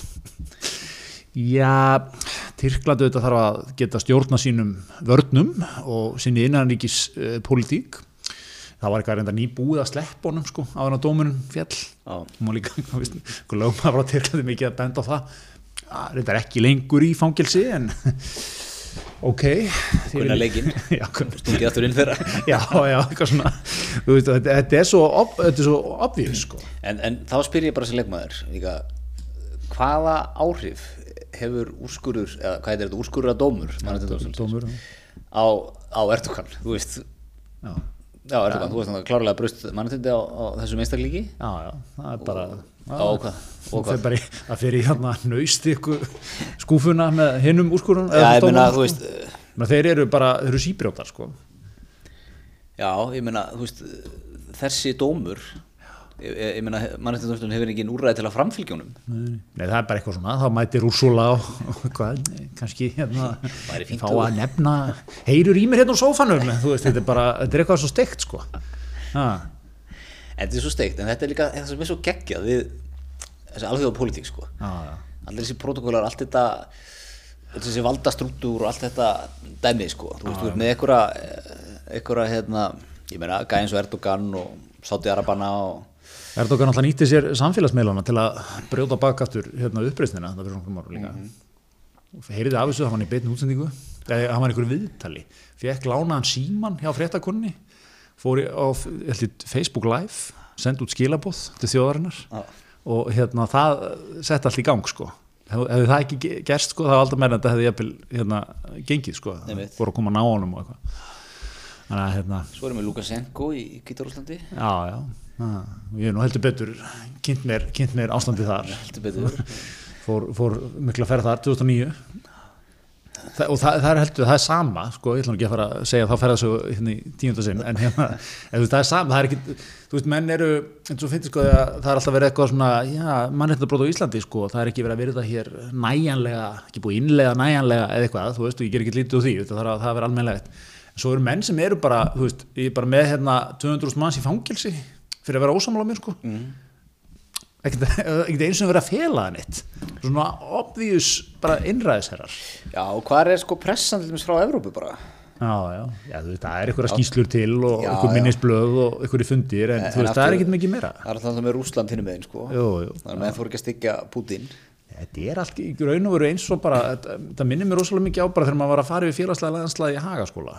S2: Já, Tyrklandi auðvitað þarf að geta stjórna sínum vörnum og sinni innanríkis uh, politík það var eitthvað reynda nýbúið að sleppa honum sko, á hann að dómunum fjall
S1: Já,
S2: hún var líka, hvað veist, lögmaður frá Tyrklandi mikið að benda á það Ah, reyndar ekki lengur í fangelsi en ok þér
S1: kunna
S2: vil-
S1: leikinn
S2: já, kunna-
S1: Stungið aftur inn þeirra
S2: já, já, eitthvað svona þú veist, þetta, þetta er svo, ob, þetta er svo obvious sko.
S1: En, en þá spyr ég bara sem leikmaður líka, hvaða áhrif hefur úrskurður eða hvað heitir þetta úrskurður að dómur mannréttindadómstólsins,
S2: dómur já.
S1: á, á Erdogan þú veist,
S2: já,
S1: já Erdogan þú veist þannig að klárlega brust mannréttindi á, á þessum einstaklíki
S2: já, já, það er bara
S1: á hvað, og
S2: það
S1: hvað
S2: fer bara í, það fer í hérna naust ykkur skúfuna með hinnum úrskurun
S1: Já, ég
S2: sko.
S1: meina, þú veist, eh,
S2: þeir eru bara, þeir eru síbrjótar sko.
S1: já, ég meina, þú veist, eh, þessi dómur, ég, ég ég meina, mannréttindadómstólinn hefur engin úrræði til að framfylgja honum.
S2: Nei, nei, það er bara eitthvað svona, þá mætir Úrsula og, og hvað, kannski hérna,
S1: Væri fínt
S2: fá
S1: þú.
S2: að nefna, heyrur í mér hérna úr sófanum, þú veist, þetta er bara, þetta er eitthvað svo steikt sko. Ha,
S1: En þetta er svo steikt, en þetta er líka, þetta sem er svo geggjað við þessi alþjóða pólitík, sko.
S2: já, já,
S1: allir þessi protokólar, allt þetta allt þessi valdastrúktúr og allt þetta dæmi sko, þú veist, þú ert með einhverja einhverja, hérna, ég meina Gæins og Erdogan og Sáti Arabana og
S2: Erdogan alltaf nýtti sér samfélagsmeilana til að brjóta bakaftur hérna uppreisnina, það fyrir svona árum líka.
S1: Mhm.
S2: Mm Heyriði af þessu, það var hann í beinni útsendingu, eða hann var í einhverju viðtali, fekk lánaðan síman hjá fréttakunni, fór í, á, held ég, Facebook Live, sendi út skilabóð til þjóðarinnar og hérna það sett allt í gang sko Hef- hefði það ekki ge- gerst sko það var aldrei meira að þetta hefði jafnvel hérna gengið sko
S1: Einmitt.
S2: voru að koma að ná honum og eitthvað þannig að hérna
S1: svo erum við Lukashenko í Kvítarúslandi
S2: já já Ah, ég hef nú heldur betur kynnt mér, kynnt mér ástandi þar
S1: heldur betur
S2: fór, fór mikla ferð þar 2009 Þa, og það, það er heldur, það er sama sko, ég ætla nú ekki að fara að segja að þá ferða svo hérna í tíundasinn, en hérna en, þú veist, það er sama, það er ekki, þú veist, menn eru eins og finnst sko, að það er alltaf verið eitthvað svona já, mannréttabrót á Íslandi, sko það er ekki verið að verið það hér næjanlega ekki búið að innlega næjanlega eða eitthvað þú veist, og ég ger ekki lítið úr því, þetta þarf að það vera almennlegt en svo eru menn sem eru bara, þú veist ég er bara með hérna 200.000 manns í fangelsi fyrir að vera ósamlega mér, sko ekkert ekkert eins og verið að fela það neitt svona obvious bara innræðisherrar
S1: já, og hvað er sko pressan til dæmis frá Evrópu bara
S2: já, já, já, þú veist, það er einhverja skýslur til og
S1: Já,
S2: einhver
S1: já.
S2: minnisblöð og einhverju fundir en,
S1: En-
S2: þú
S1: en
S2: veist, það er
S1: aftur-
S2: ekkert mikið meira
S1: það er alltaf með Rúsland hinnum megin sko
S2: jú, jú.
S1: þannig að menn fór ekki að styggja Putin
S2: þetta er allt í raun og veru eins og bara þetta, þetta minnir mér rosalega mikið á bara þegar maður var að fara við félagslega landslaði í Hagaskóla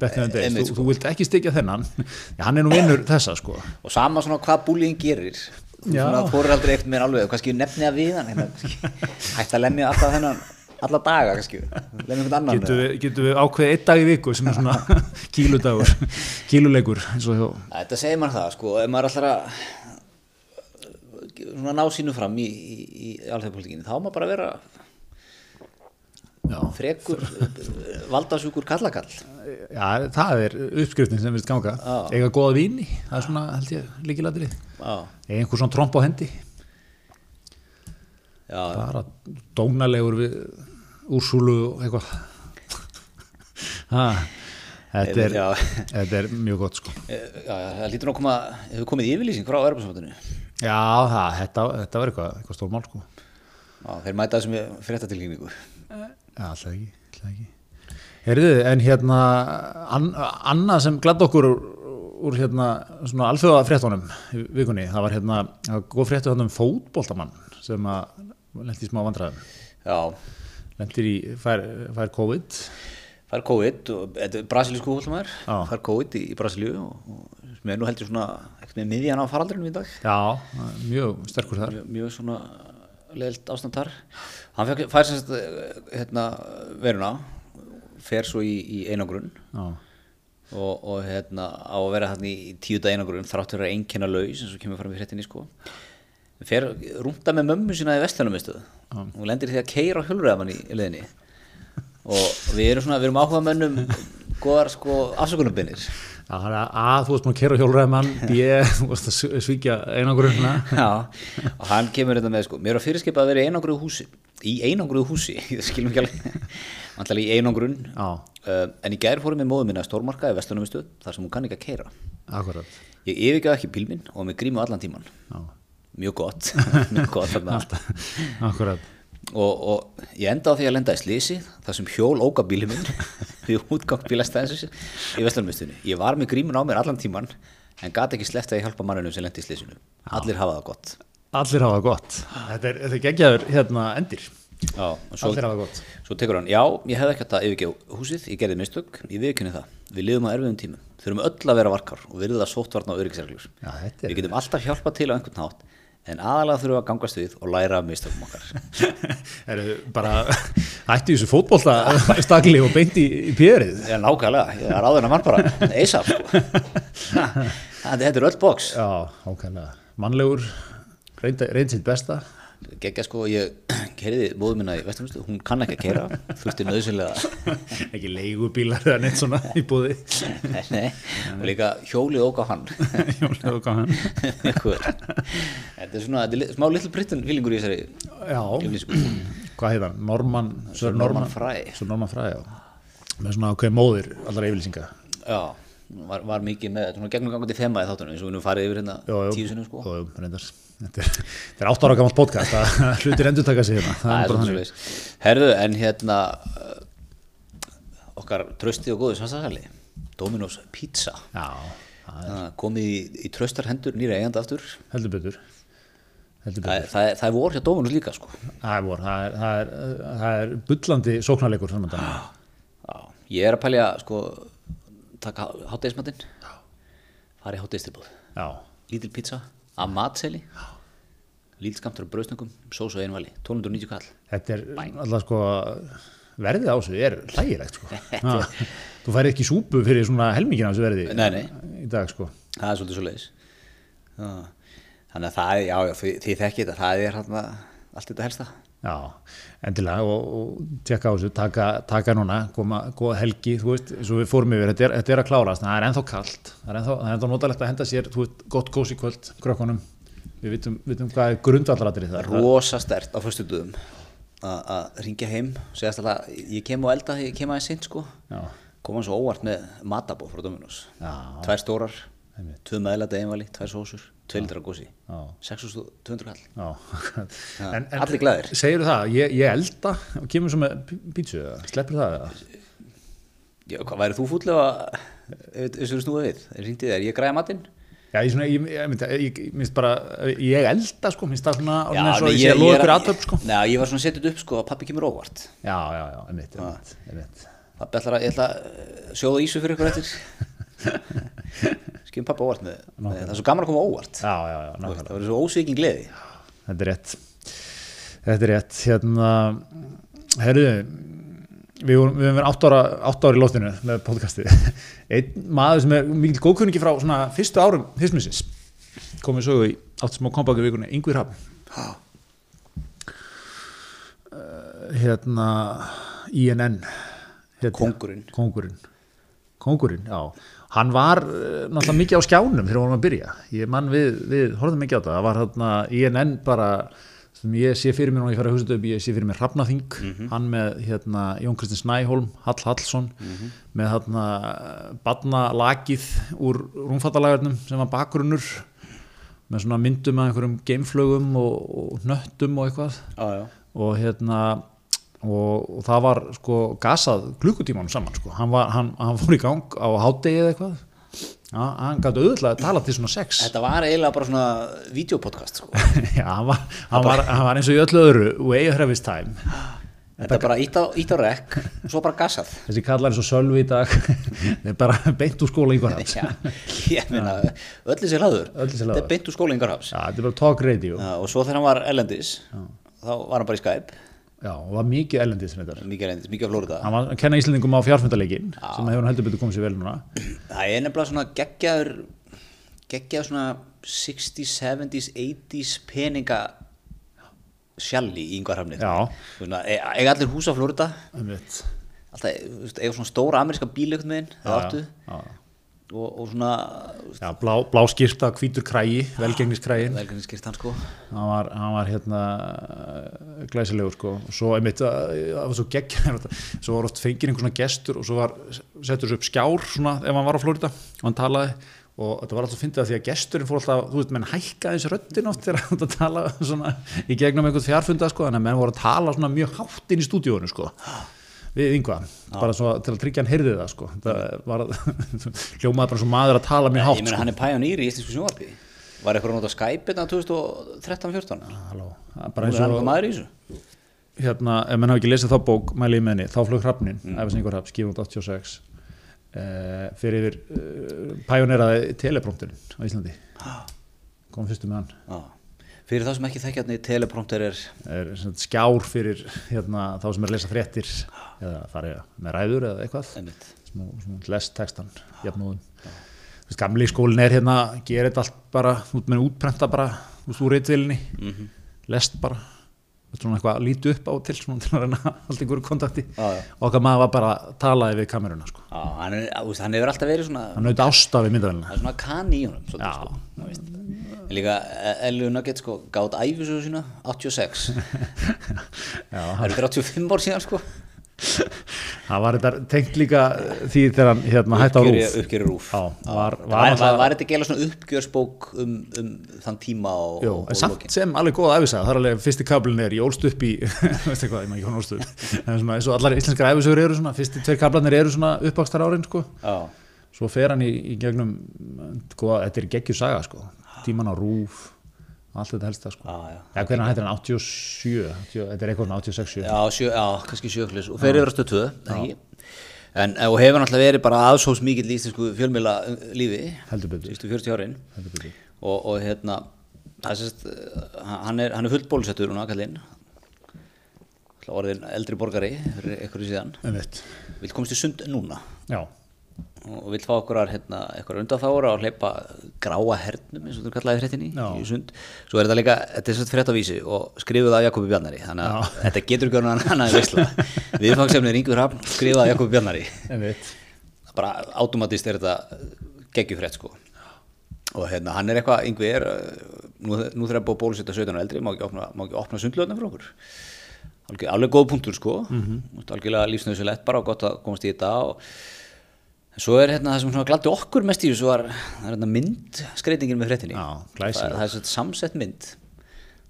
S2: Back in the days,
S1: Einmitt,
S2: þú, þú vilt ekki styggja þennan já, hann er nú vinnur þessa sko
S1: og sama svona hvað búlíðin gerir
S2: Já.
S1: svona þorir aldrei eftir mér alveg kannski nefni að við hann hérna, kannski. hætt að lemja alltaf þennan alla daga kannski lemja einhvern annan
S2: getum við, getum við ákveðið einn dag í viku sem er svona kíludagur, kíluleikur eins og hjá,
S1: Þetta segir maður það, sko, ef maður allra svona ná sínu fram í, í, í alþjóðpolítikinni, þá á maður bara að vera
S2: já,
S1: frekur, valdasjúkur kallakall.
S2: já, það er uppskriftin sem finnst ganga,
S1: Já.
S2: eiga góða víni, það er svona, held ég, líkilatrið,
S1: Já,
S2: eiga einhver svona tromp á hendi,
S1: já,
S2: bara dónalegur við úrsúlu og eitthvað, ha, þetta er,
S1: Já.
S2: þetta er mjög gott sko.
S1: já, já, það lítur nú að koma, hefur komið yfirlýsing frá Erfarsambandinu.
S2: Já, það, þetta, þetta var eitthvað, eitthvað stórmál sko.
S1: Já, þeir mæta þessum fréttatilkynningu.
S2: Já, alltaf ekki, alltaf ekki. Herðu, en hérna, an, annað sem gladd okkur úr, úr hérna, svona alþjóða fréttunum í vikunni, það var hérna, það var góð fréttu hann um fótboltamann sem að lendir í smá vandræðum,
S1: Já,
S2: lendir í, fær, fær COVID.
S1: fær COVID, og, þetta er brasilísku hólmaður,
S2: Já.
S1: fær COVID í, í Brasilíu og, og sem er nú heldur svona, ekkert með miðjan á faraldrinum í dag.
S2: Já, mjög sterkur þar.
S1: mjög, mjög svona leilt ástand þar hann fekk, fær sem sagt eh, hérna, veruna fer svo í, í einangrun
S2: Já,
S1: og, og hérna, á að vera þarna í, í tíuta einangrun þrátt fyrir að einkenna laus eins og kemur fram í hrettinni sko fer rúnda með mömmu sína í vestlunumistuð og lendir í því að keira á hjólreðamann í leðinni og við erum svona, við erum áhuga mönnum góðar sko afsökunarbinnir
S2: Já, það er að, að þú veist maður kera hjólræðmann, B, E, þú veist að sv- svíkja einanguruna.
S1: Já, og hann kemur þetta með sko, mér var fyrirskipað að vera í einangruðu húsi í einangruðu húsi, ég skilum ekki alveg vantilega í einangrun
S2: Já,
S1: uh, en í gær fórum við móðum minna að stórmarka í Vestlunumistuð þar sem hún kann ekki að keira
S2: akkurat.
S1: ég yfirgjáð ekki bílminn og með grímu allan tíman
S2: Já,
S1: mjög gott, mjög gott þarna
S2: akkurat.
S1: og, og ég enda á því að lenda í slísi þar sem hjól óka bílum minn við útgang bílastæðins í Vestlunumistuðinu ég var með grímun á mér allan tíman en gat ekki sleppt að ég hjálpa mannunum sem lendi í slísinu allir hafa það gott
S2: Allir hafa það gott. Þetta er, þetta er geggjaður hérna endir.
S1: Já, og svo-
S2: Allir hafa það gott.
S1: Svo tekur hann, já, ég hefði ekki átt að yfirgefa húsið, ég gerði mistök, ég viðkynni það. Við lifum á erfiðum tímum, þurfum öll að vera varkar og virða sóttvarn og öryggisreglur.
S2: Já, þetta
S1: Við
S2: er,
S1: getum alltaf hjálpað til á einhvern hátt, en aðalega þurfum við að gangast við og læra af mistökum okkar.
S2: er bara hætti þessu fótbolta stakli og beint í, í pjörið.
S1: Já, nákvæmlega, ég er áður en að mann bara, eisa, sko. Ha, Þetta er öll box.
S2: Já, ákveðlega. Mannlegur, reynd, reynd sitt besta.
S1: Gekka, sko, ég kerði móðu minna í vestumstu, hún kann ekki að kera, þurfti nöðsynlega
S2: Ekki leigubílar eða neitt svona í búði.
S1: Nei, og líka hjólið óka hann
S2: Jónlega og gaman.
S1: Einhver. þetta er svona þetta er li- smá little Britain fílingur í þessari
S2: Já,
S1: yfirlýsingu.
S2: hvað heit hann? Norman, Sir
S1: Norman Fry.
S2: Sir Norman Fry, já. Með svona ákveð móðir allra yfirlýsinga.
S1: já, var, var mikið með svona gegnum gangandi þema í þáttunum eins og við nú farið yfir hérna tíu sinni sko
S2: Jó, jó, reyndar. Þetta er, þetta er átt ára gamalt podcast að hlutir endur taka sig hérna.
S1: það er
S2: bara
S1: svona
S2: þannig.
S1: svoleiðis herðu en hérna uh, okkar trösti og góðu samstæðsæli Dominos Pizza
S2: Já, það
S1: Það komið í, í tröstar hendur nýra eiganda aftur það,
S2: heldur betur. Heldur betur.
S1: það, það, er- það er vor hjá Dominos líka sko
S2: Það er vor, það er, það er, það er bullandi sóknarleikur framöndan.
S1: Ah. já, ég er að pælja sko taka hátdeismatinn fara í hátdeistilbúð
S2: Já,
S1: lítil pizza að matseli lítil skamtur af bröðsnöngum sós og einvali 1290 kall
S2: þetta er alltaf sko, verðið á þessu er hlægilegt sko. Já, þú færi ekki súpu fyrir svona helmingin á þessu verði
S1: Nei, nei.
S2: í dag sko.
S1: það er svolítið svo leiðis þannig að það er, já, já því, því þekki þetta það er hérna allt þetta helsta
S2: Já, endilega og, og tjekka á þessu, taka, taka núna, koma, góða helgi, þú veist, eins og við fórum yfir, þetta er, þetta er að klára, það er ennþá kalt, það er ennþá, það er ennþá notalegt að henda sér, þú veist, gott kósi kvöld, krökkunum, við vitum, vitum hvað er grundallaradrið það.
S1: rosa stert á föstudöðum að ringja heim segast alltaf, ég kem á elda þegar ég kem aðeins sinn sko
S2: Já,
S1: koma svo óvart með matabó frá Dominos
S2: Já.
S1: tvær stórar,
S2: Einmitt.
S1: tvö meðlæta einvali tvær sósur, tvö litra gósi
S2: já.
S1: 6.200 kall
S2: Já,
S1: Já,
S2: en, en
S1: allir glaðir.
S2: Segirðu það, ég, ég elda og kemur svo með pí- pítsu eða sleppur það eða?
S1: já, hvað værið þú fútlega ef þessu eru snúið við, ringdi þér, ég græði matinn
S2: Já, ég, svona, ég, ég, myndi- ég, ég minnst bara, ég elda sko, minnst það svona,
S1: Já,
S2: já, eins og
S1: nei,
S2: ég sé að
S1: ég
S2: loða
S1: er
S2: ykkur
S1: að-
S2: aðtöp sko.
S1: Nei, ég var svona setið upp sko að pappi kemur óvart
S2: Já, já, já, einmitt, einmitt, einmitt.
S1: Pappi ætlar að, ég ætla að eh, sjóða ísu fyrir ykkur eftir Skifum pappi óvart með, með það er svo gaman að koma óvart
S2: Já, já, já,
S1: Þú veist,
S2: nákvæmlega,
S1: Það verður svo ósvíkin gleði
S2: þetta er rétt. Þetta er rétt, hérna, herruðu, við vorum- við höfum verið átt ára, átt ára í lóttinu með podcasti einn maður sem er mikil góðkunningi frá svona fyrstu árum hismisins komið sögu í átt smá kompakið vikunni Yngvi Rapp hérna INN hérna,
S1: Kóngurinn.
S2: Kóngurinn Kóngurinn, já Hann var eh, náttúrulega mikið á skjánum þegar við vorum að byrja Ég mann við, við horfðum ekki á það Það var hérna INN bara sem ég sé fyrir mér og ég fara að hugsa þetta upp ég sé fyrir mér Hrafnaþing, hann með hérna, Jón Kristinn Snæholm, Hall Hallsson með hérna badnalakið úr rúmfattalagarnum sem var bakgrunnur með svona myndum að einhverjum geimflögum og, og nöttum og eitthvað
S1: já, já.
S2: og hérna og, og það var sko gasað klukkutímanum saman sko, hann, var, hann, hann fór í gang á hádegi eða eitthvað ja, hann gæti auðvitað að tala til svona sex
S1: Þetta var eiginlega bara svona videopodcast sko.
S2: já, hann var, hann, var, hann var eins og í öllu öðru way ahead of his time
S1: Þetta er bara ít á, ít á rekk og svo bara gassað
S2: þessi kallar eins og sölvi í dag þeir bara beint úr skóla yngvar hans já,
S1: Já, ég meina, öllu sér laður
S2: Öllu sér
S1: Þetta
S2: lagður.
S1: er beint úr skóla yngarhafs
S2: þetta er bara talk radio já,
S1: Og svo þegar hann var erlendis þá var hann bara í Skype
S2: og var mikið ellendis reyndar.
S1: mikið erlendis, mikið af Flórida
S2: hann var að kenna Íslendingum á fjárfundarleikin sem hefur hann heldur betur komið sér vel núna
S1: Það er nefnilega svona geggjaður geggjaður svona 60s, 70s, 80s peninga sjalli í yngarhafni
S2: Já.
S1: Ega e, allir hús á Flórida
S2: einmitt
S1: alltaf, e, þú veist, eiga svona stóra ameríska bílögn með hinn, það áttu
S2: já.
S1: og, og svona,
S2: Já, blá, blá skýrta, hvítur krægi, velgengniskrægin,
S1: velgrunni skýrt hann sko
S2: hann var, hann var hérna eh, glæsilegur sko, og svo einmitt, eh, það var svo gegg, svo var oft fengið einhver svona gestur og svo var, settur svo upp skjár svona ef hann var á Flórida og hann talaði og þetta var alltaf fyndið að því að gesturinn fór alltaf, þú veist, menn hækkaði þessi röddin oft þegar hann átti að tala svona í gegnum einhvern fjárfunda sko, þannig að menn voru að tala svona mjög hátt inn í stúdíónu sko við yngva, bara svo til að tryggja hann heyrði það sko, það var hljómaði bara svo maður að tala mjög
S1: Ég
S2: hátt
S1: meina hann er pæjónýr í íslensku sjónvarpi Var eitthvað að nota Skype hérna 2013-14
S2: Halló, sko.
S1: Hún
S2: bara
S1: er
S2: eins
S1: hann
S2: og
S1: eitthvað maður í þessu
S2: hérna, ef mann hafa ekki lesið þá bók mæli ég með henni, þá flög hrafnin Æfis Ingur Hrafn, skifund 86 uh, fyrir yfir uh, pæjoneraði teleprompturinn á Íslandi kom fyrstu með hann
S1: Já. Fyrir þá sem ekki þekkja hann í teleprompter er
S2: er sem sagt skjár fyrir hérna, þá sem er að lesa fréttir eða farið með ræður eða eitthvað
S1: einmitt,
S2: sem hún les textan jafnóðum Þú veist, gamli skólin er hérna gerir þetta allt bara, út með útprenta bara út úr reytvilinni
S1: Mhm.
S2: lest bara, Þú veist, svona eitthvað að líti upp á til svona til að reyna að halda einhverju kontakti
S1: Já, já.
S2: okkar maður var bara að talaði við kameruna sko.
S1: á, hann, er, á, hann hefur alltaf verið svona
S2: hann naut ásta við myndavælina
S1: Það er svona kann í honum svolítið,
S2: Já.
S1: sko, þú veist. En Líka Ellu Nugget sko, gátt æfisöðu sína 86 Það eru 35 ár síðan sko
S2: það var þetta tengt líka því þegar hann hérna, hætti á rúf
S1: Uppgjöri rúf
S2: Já, var,
S1: Það
S2: var,
S1: Var, var,
S2: var,
S1: var þetta ekki eiginlega svona uppgjörsbók um, um þann tíma og,
S2: Jó,
S1: og,
S2: en
S1: og
S2: samt sem alveg góða æfisaga, það er alveg fyrsti kablin er, ég ólst upp í, veist eitthvað, ég maður ekki hún ólst upp, en svona eins og allar íslenskar æfisögur eru svona, fyrsti tveir kablanir eru svona uppvakstar árin, sko,
S1: Já,
S2: svo fer hann í, í gegnum, góða, þetta er geggjur saga, sko, tíman á rúf, allt þetta helsta, sko.
S1: já, já
S2: Já, hvernig hættir hann, 87, 80, þetta er eitthvað 86, 7.
S1: Já, sjö, já kannski sjöklis og fer yfir á stöð 2 en, eh, og hefur náttúrulega verið bara aðsóðs mikill í íslensku fjölmjöla lífi
S2: Heldur betur.
S1: sístu 40 árin
S2: Heldur betur.
S1: og, og hérna það er sérst, uh, hann er, hann er fullt bólusettur núna kallinn Ætla orðin eldri borgari fyrir einhverju síðan
S2: Um veitt,
S1: vill komast í sund núna
S2: já,
S1: og vill fá okkur hérna, eitthvað undanþára og hleypa gráa hernum eins og þú kallaði fréttinni
S2: Já.
S1: í sund svo er þetta líka, þetta er svolítið frétt á vísi og skrifuð af Jakobi Bjarnari þannig að þetta getur ekki hann annað veistla viðfangsefni er yngur hafn skrifað af Jakobi Bjarnari
S2: um veitt.
S1: bara automatist er þetta geggjufrétt sko og hérna hann er eitthvað, yngvi er uh, nú, nú þurfa að búa bólusetta 17 og eldri má ekki opna, má ekki opna sundlöðna fyrir okkur alveg, alveg góð punktur sko mm -hmm. algjörlega lífsnöðsilegt bara og gott að komast í þetta og en svo er hérna það sem svona gladdi okkur mest í þessu var það er hérna mynd skreitingin með fréttinni
S2: Já,
S1: það,
S2: glæsileg.
S1: það er svona samsett mynd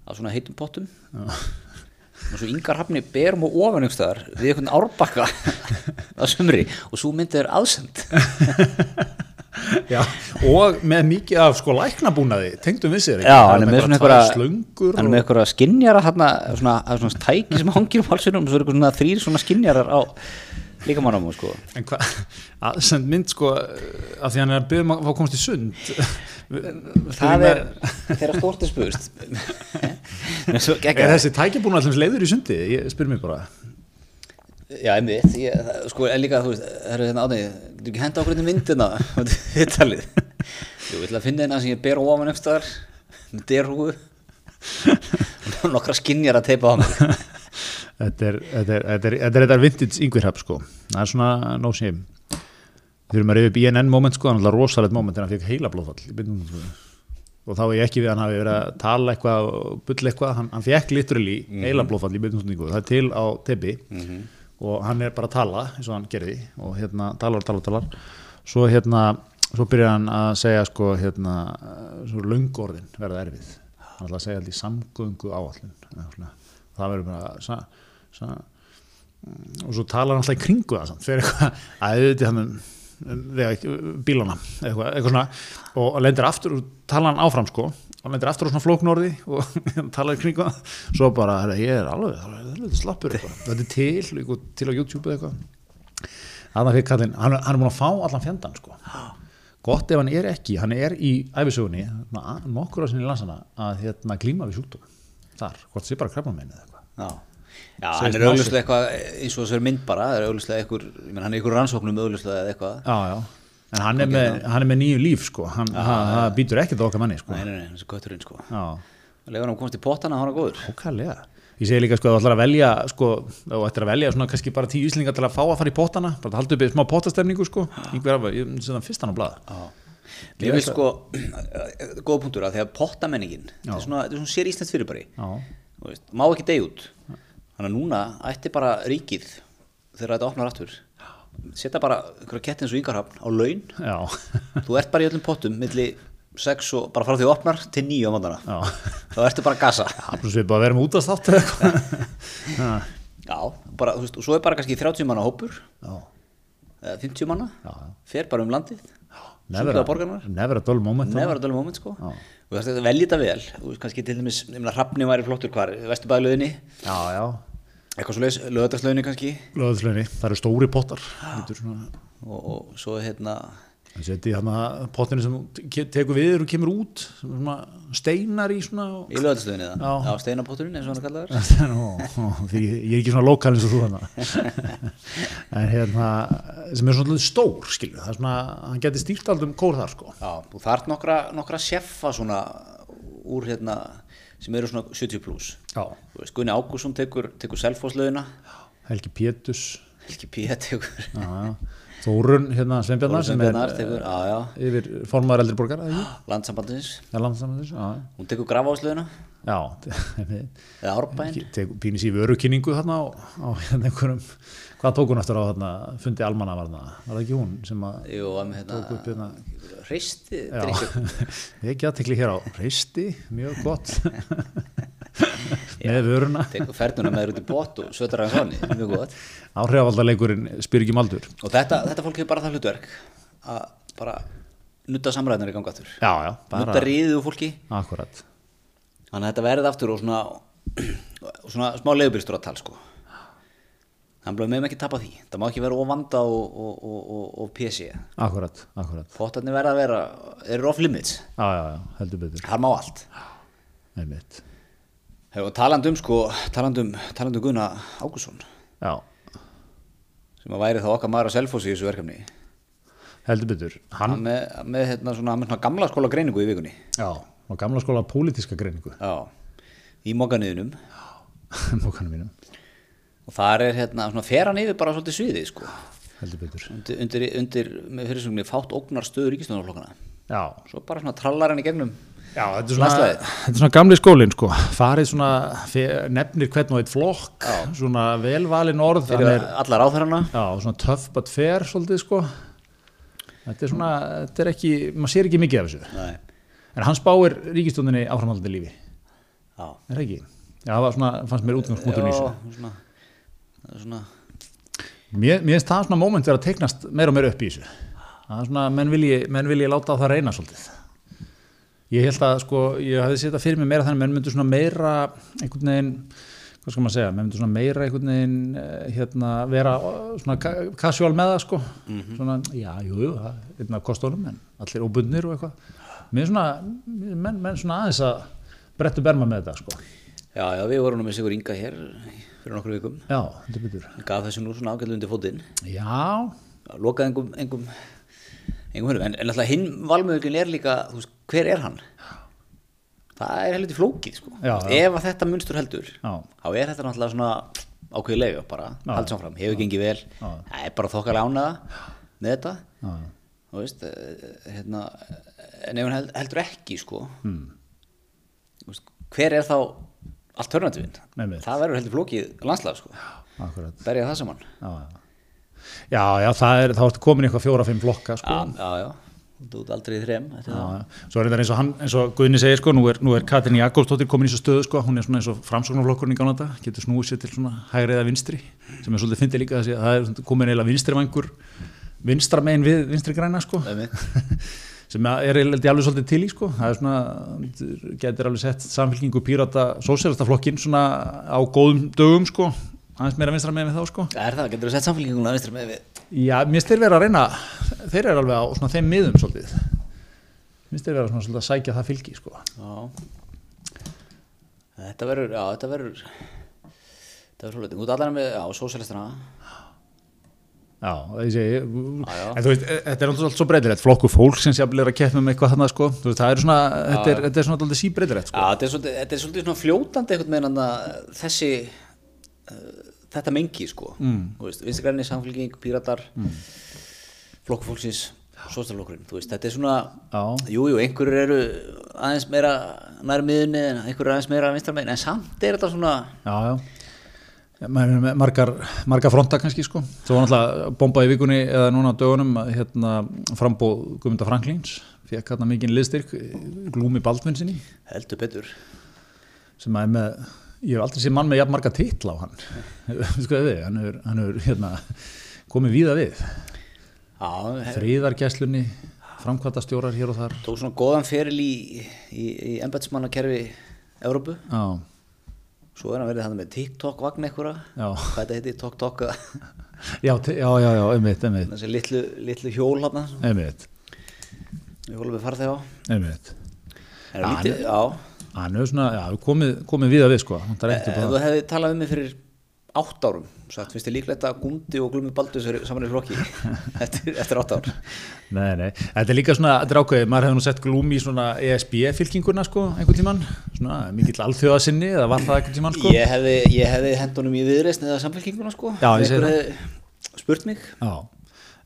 S1: af svona heitum pottum og svo yngar hafni berum og ofan einhverstaðar við einhvern árbakka á sumri og svo myndið er aðsend
S2: Já, og með mikið af sko læknabúnaði, tengdum við sér ekki?
S1: Já,
S2: Það
S1: hann er með svona
S2: tvær
S1: einhverja
S2: slöngur
S1: hann er
S2: og-
S1: með einhverja skinjara hann er svona, það er svona tæki sem hangir um halsunum og svo er eitthvað svona þrýr svona skinjarar á líkamannum sko.
S2: En hvað, aðsend mynd sko, að því hann er að byggja um að fá að komast í sund.
S1: það
S2: Það
S1: er þegar stort er spust
S2: Er þessi tækjabúna allir leiður í sundi? Ég spyr mér bara.
S1: Já, einmitt, ég, það- sko, en líka, þú veist, það eru hérna átnið, getur ekki henda okkur inn í myndina, þetta er talið. Jú, ég ætla að finna hérna sem ég ber á ofan eftir þar, með derhúgu, og nokkra skinnjar að teipa á mig.
S2: Þetta er þetta er- þetta er- þetta er þetta vintage yngvirhap sko, það er svona no shame Við erum að reyða upp INN moment sko, það er rosalegt moment en hann fekk heila blóðfall í byrjunum sko. og þá er ég ekki við að hann hafi verið að tala eitthvað og bulla eitthvað, hann, hann fekk literally heila blóðfall í byrjunum það er til á tebi og hann er bara að tala eins og hann gerði og hérna talar, talar, talar svo hérna, svo byrjar hann að segja sko hérna, eh, svo löngorðin verða erfið, hann ætla að segja alltaf í samgöngu áallun það verður bara sa, sa, og svo talar hann alltaf í kringu það samt, fyrir eitthvað að auðvitað hann um, um, vega- bílana eitthvað, eitthvað svona og lendir aftur og talar hann áfram sko og lendir aftur á svona flóknorði og talar í kringu það svo bara, herra, ég er alveg, það er alveg slappur eitthvað þetta er til, eitthvað, til á YouTube eða eitthvað þannig að kallinn, hann, hann er búin að fá allan fjandann sko gott ef hann er ekki, hann er í æfisögunni, svona a- nokkur á sinni lansana að hérna glíma við sjúkdóma þar, hvort sé bara krabba eða eitthvað
S1: Já, já
S2: Segist
S1: hann er
S2: Mási.
S1: auðvitað eitthvað, eins og þessu er mynd bara, það er auðvitað eitthvað, ég menn, hann er í ykkur rannsóknum auðvitað eða eitthvað.
S2: Já, já. En hann er, með, hann er með nýju líf, sko. Hann ja, ja. býtur ekkert á okkar manni, sko.
S1: Nei, nei, nei, þessi kötturinn, sko.
S2: Já,
S1: Legur hann komast í pottana, hann er góður.
S2: ókærlega. Ég segi líka, sko, að þú ætlar að velja, sko, og ættir að velja svona kannski bara tíu íslingar til að fá að fara í pottana, bara halda upp í smá pottastemningu, sko. Yngver af, ég setja hann fyrstan á blaða.
S1: Mér finnst sko, góð sko, punktur að því að pottamenningin, þetta er svona, þetta er svona sér íslenskt fyrirbæri.
S2: Já,
S1: Þú veist, má ekki degja út þannig að núna ætti bara ríkið þegar þetta opnar aftur setja bara einhverja ketti eins og yngarhafn á laun
S2: já,
S1: þú ert bara í öllum pottum milli 6 og bara frá því þú opnar til 9 á mandana
S2: já.
S1: þá ertu bara að gasa
S2: Svo svipað að vera með útastátt eða eitthvað. Já,
S1: já, bara, þú veist, og svo er bara kannski 30 manna hópur
S2: já.
S1: eða 50 manna,
S2: Já, já.
S1: fer bara um landið
S2: Never,
S1: sundraða borgarnar
S2: a- never a dull moment.
S1: Never að dala moment sko
S2: Já.
S1: og það er veljið þetta vel, þú veist kannski til dæmis nefnilega hrafni væri flottur hvar, vesturbæðlöðinni
S2: Já, já.
S1: eitthvað svo leis, löðarslöðinni kannski
S2: Löðslöðinni, það eru stóri pottar. Þetta er svona
S1: og, og svo hérna
S2: Það seti hann að pottinu sem þú ke- tekur við þér og kemur út sem er svona steinar í svona og...
S1: Í löðarstöðinni það?
S2: Já.
S1: Já, steinapotturinn eins og hann er kallaður.
S2: Ó, ó, því ég er ekki svona lokal eins og þú hann en hérna sem er svona svolítið stór skilju það er svona, hann geti stýrt aldrei um kór þar sko
S1: Já, þú þarf nokkra, nokkra seffa svona úr hérna sem eru svona 70 pluss.
S2: Já.
S1: Þú veist, Gunni Ágússon tekur, tekur selfosslöðina,
S2: Helgi Pétus
S1: Helgi Pía tekur
S2: já, já. Þórun hérna Sveinbjarnar sem er
S1: Sveinbjarnar tekur, já, já,
S2: eh, yfir formaður eldri borgar
S1: landsambandins,
S2: landsamöndis já,
S1: hún tekur grafáslöðina,
S2: já einmitt.
S1: eða árbæn,
S2: Tekur- pínir sér í vörukynningu þarna á, á hérna einhverjum hvað tók hún eftir á þarna fundi almanna var það ekki hún sem að
S1: jú, að með
S2: tók upp
S1: hérna,
S2: hérna
S1: hreisti, drikkjum.
S2: já, ekki aðtekli hér á reisti, mjög gott með vöruna
S1: Tekur ferðuna með þér út í bót og sötur hann svonni, mjög gott.
S2: áhrifaldarleikurinn spyr ekki um aldur
S1: Og þetta, þetta fólk hefur bara það hlutverk að bara nutta samræðunar í ganga aftur.
S2: já, já, bara
S1: Nutta ríðið úr fólki.
S2: akkurat
S1: Þannig að þetta verið aftur og svona, og svona smá leiðubilstur að tala sko. Þannig að við meðum ekki tapa því. Það má ekki vera óvanda og, og, og, og, og PC.
S2: akkurat, akkurat,
S1: Fótarnir verða að vera, eru off limits.
S2: já, já, já, heldur betur
S1: Þar má allt.
S2: einmitt,
S1: Hefur talandum sko, talandum, talandum Gunna Ágússon
S2: já,
S1: sem að væri þá okkar maður að selfósi í þessu verkefni.
S2: heldur betur hann,
S1: Hann með, með, hérna, svona, með svona gamla skóla greiningu í vikunni.
S2: já, á gamla skóla pólitíska greiningu
S1: Já. Í móganiðunum.
S2: mókanum mínum,
S1: Og þar er hérna svona fer hann yfir bara svolítið sviðið sko.
S2: heldur betur
S1: Undir, undir, undir með fyrirsögni fátt ógnar stöður ríkistunarflokkana.
S2: já,
S1: Svo bara svona trallar hann í gegnum
S2: Já, þetta er svona,
S1: Landslagið.
S2: þetta er svona gamli skólinn sko, farið svona, fe- nefnir hvern og eitt flokk, svona velvalin orð, hann
S1: fyrir
S2: er,
S1: alla ráðherrana.
S2: já, svona tough but fair svolítið sko, þetta er svona, þetta er ekki, maður sér ekki mikið af þessu,
S1: Nei,
S2: en hann spáir ríkistjóninni áframhaldandi lífi,
S1: já.
S2: er það ekki? Já, það var svona, fannst mér útgangspunktur í þessu.
S1: Já, svona, það er svona,
S2: Mér, mér finnst það svona moment vera að teiknast meira og meira upp í þessu, það er svona, menn vilji, menn vilji láta á það reyna svolítið. Ég held að sko, ég hafði setjað fyrir mig meira þannig að menn myndu svona meira einhvern veginn, hvað skal maður segja, menn myndu svona meira einhvern veginn eh, hérna, vera eh, svona ka- casual með það sko, svona, já, jú, jú, það, einn af kostunum, en allir óbundnir og eitthvað. Mér er svona, menn, menn svona aðeins að brettu berma með þetta sko.
S1: já, já, við vorum nú með Sigur Inga hér fyrir nokkru vikum
S2: já, þetta er betur
S1: gaf þessu nú svona ágætlu undir fótinn
S2: já,
S1: lokaði engum engum, engum hörnum. en, en alltaf hinn valmöðugin er líka þú veist, hver er hann það er heldur flókið sko. Þú
S2: Já,
S1: veist,
S2: já.
S1: ef að þetta munstur heldur
S2: Já.
S1: þá er þetta náttúrulega svona ákveðið leiðu bara,
S2: Já,
S1: haldt samfram, hefur gengið vel það er bara þokkar lánaða með þetta
S2: já,
S1: þú veist eh, hérna, en ef hann held- heldur ekki sko hmm. veist, hver er þá alternativinn
S2: Einmitt.
S1: það verður heldur flókið landslag sko
S2: akkurat
S1: berja það saman
S2: já, já. já, já, það er, þá ertu komin í eitthvað fjóra-fimm blokka sko.
S1: já, já, já, þú ert aldrei í þrem þetta er
S2: Já, já. Svo er þetta eins og, hann, eins og Guðni segir sko, nú er, nú er Katrin Jakobsdóttir komin í þessu stöðu sko, hún er svona eins og framsóknarflokkurinn í gána þetta, getur snúið sér til svona hægri eða vinstri, sem er svolítið fyndið líka þessi að það er svona komin eiginlega vinstri vangur vinstra megin við vinstri græna sko
S1: Einmitt.
S2: sem er held ég alveg svolítið til í sko það er svona, getur alveg sett samfélkingu pírata, sósérastaflokkin svona á góðum dögum sko aðeins meira vinstra megin við þá sko
S1: Það er það, getur þú sett samfélkinguna vinstri með við
S2: Já, mér styrir vera að reyna þeir eru alveg á svona þeim miðum svolítið mér styrir vera svona svolítið að sækja það fylgi sko.
S1: Já Þetta verður, já þetta verður Þetta verður svolítið, út allar með, já, sósélistana
S2: Já, það sé ég
S1: já.
S2: en þú veist, e- þetta er náttúrulega svo breytilegt flokku fólk sem sé að er að keppa með eitthvað þarna sko. Þú veist, það er svona, þetta er, þetta er svona alltaf
S1: Já,
S2: síbreytilegt sko.
S1: þetta er svolítið, þetta er svolítið svona fljótandi einhvern veginn að þessi uh, þetta mengi, sko mm. veist, vinstri grænni, samfélking, píratar mm. flokkfólksins sósélokkurinn, þú veist, þetta er svona
S2: Já.
S1: jú, jú, einhverjur eru aðeins meira nærmiðinni en einhverjur aðeins meira vinstra megin, en samt er þetta svona
S2: Já, já Já, maður er með margar, margar fronta kannski sko. Svo var náttúrulega bomba í vikunni eða núna á dögunum að, hérna, frambóð Guðmunda Franklins fekk hérna mikinn liðstyrk glúmi Baldvin sinni
S1: heldur betur
S2: sem að er með, ég hef aldrei séð mann með jafn marga titla á hann sko þið, hann er, hann er hérna, komið víða við
S1: Já,
S2: friðargæslunni, framkvæmtastjórar hér og þar
S1: tók svona góðan feril í, í, í embætsmannakerfi Evrópu,
S2: já,
S1: svo er hann verið þannig með TikTok vagn einhverja,
S2: Já.
S1: hvað þetta heiti TikTok, eða
S2: já, te- já, já, já einmitt, einmitt,
S1: þessi litlu, litlu hjól hana,
S2: einmitt,
S1: hjólum við farþeg á
S2: einmitt.
S1: en ja, lítið, já,
S2: hann er svona, já, komið, komið víða við sko, hann er
S1: ef
S2: ekkert upp á
S1: þú hefði talað um mig fyrir átt árum, sagt, finnst þið líklegt að Gundi og Glumi Baldur sér saman í flokki eftir, eftir átt ár
S2: Nei, nei, þetta er líka svona, þetta er ákveðið, maður hefði nú sett glúmi í svona ESB-fylkinguna sko, einhvern tíman, svona mikill alþjóðasinni eða var það einhvern tíman sko?
S1: ég hefði, ég hefði hendunum í viðreist eða samfélkinguna sko,
S2: Já, ég segi
S1: Einhver hefði spurt mig
S2: Já,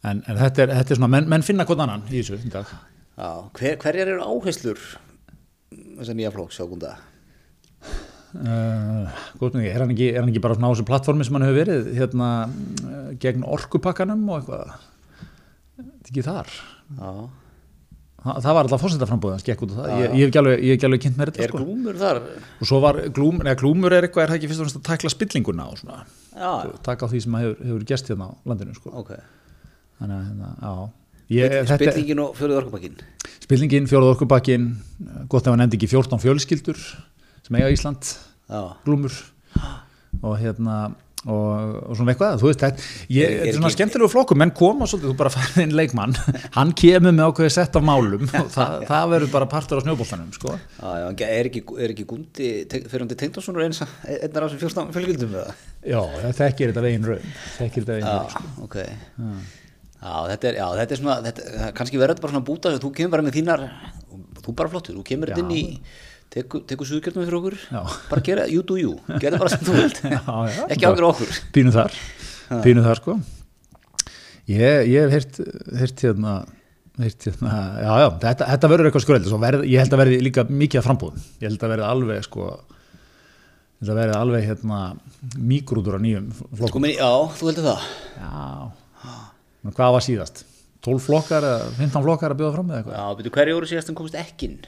S2: en, en þetta, er, þetta er svona, menn, menn finna hvort annan í þessu í dag.
S1: já, hver, hverjar eru áherslur þessar nýja flokks á Gunda
S2: Uh, góð spurning, er hann, ekki, er hann ekki bara svona á þessu plattformi sem hann hefur verið, hérna, uh, gegn orkupakkanum og eitthvað? Þetta er ekki þar.
S1: já
S2: Það, það var alltaf fórsetaframbúðið hans, gekk út á það. Ég, ég hef ekki alveg, ég hef ekki alveg kynnt mér þetta
S1: Er
S2: sko.
S1: glúmur þar?
S2: Og svo var glúm, neða glúmur er eitthvað, er það ekki fyrst og fremst að takla spillinguna og svona,
S1: Já,
S2: taka á því sem hefur, hefur gerst hérna á landinu sko.
S1: ok.
S2: þannig að hérna, já ég, þetta,
S1: Spillingin og fjöluð orkupakkin.
S2: spillingin, fjórað orkubakkin gott ef hann endi ekki 14 fjölskyldur sem eiga Ísland,
S1: Já.
S2: glúmur og hérna og, og svona eitthvað, þú veist þetta ég,
S1: Er- er
S2: þetta er svona
S1: ekki-
S2: skemmtilegu flokkum, menn koma svolítið, þú bara færið inn leikmann, hann kemur með ákveðið sett af málum og það, það verður bara partur á snjóboltanum, sko
S1: Já, já, en er ekki, er ekki Gundi, fyrirandi Tengdóssonur eins einnar af þessum 14 fjölgildum eða?
S2: já, það þekkir þetta veginn raun þekkir þetta veginn raun
S1: Já, ok. Já, þetta er, já, þetta er svona, þetta, það er kannski verður þetta bara svona búta þegar þú kemur bara með þínar, þú bara flottur, þú kemur þetta inn í, tekur teku suðgjörnum fyrir okkur,
S2: Já.
S1: bara gera, you do you, gera bara sem þú vilt,
S2: Já, já.
S1: ekki ákveður okkur.
S2: pínu þar, pínu þar sko ég, ég hef heyrt heyrt hérna, heyrt hérna já, já, þetta, þetta verður eitthvað skröld verð, ég held að verði líka mikið að frambúðum ég held að verði alveg sko ég held að verði alveg hérna mýgrútur á nýjum flokkum
S1: Sko, minn, já, þú heldur það?
S2: já, Nú, hvað var síðast 12 flokkar, eða 15 flokkar að bjóða fram með eitthvað
S1: Já, betur hverju voru síðast en komist ekkinn?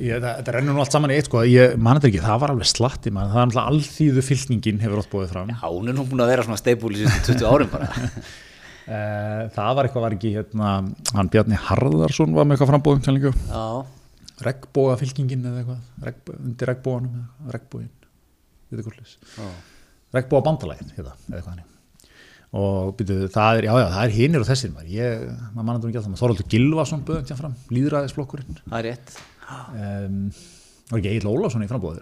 S2: Ég, það, þetta rennur nú allt saman í eitt sko, ég man þetta ekki, það var alveg slatti man. það er alltaf allþýðu fylkningin hefur ótt búið fram
S1: Já, hún er nú búin að vera svona steipúl í síðustu 20 árum bara.
S2: Eh, það var eitthvað var ekki hérna, hann Bjarni Harðarsson var með eitthvað um frambóðum sem líka
S1: Já,
S2: regnbóa fylkingin eða eitthvað Regb, undir regnbóanum regnbóin
S1: já.
S2: regnbóa bandalægin hérna, eða eitthvað hann og byrju, það er, já já, það er hinir og þessir maður, ég, maður mann andur ekki alltaf maður Þoraldur Gilvason böðum tjáfram, líðræðisflokkurinn
S1: Það er rétt.
S2: um, var ekki Egil Ólafsson í frambóður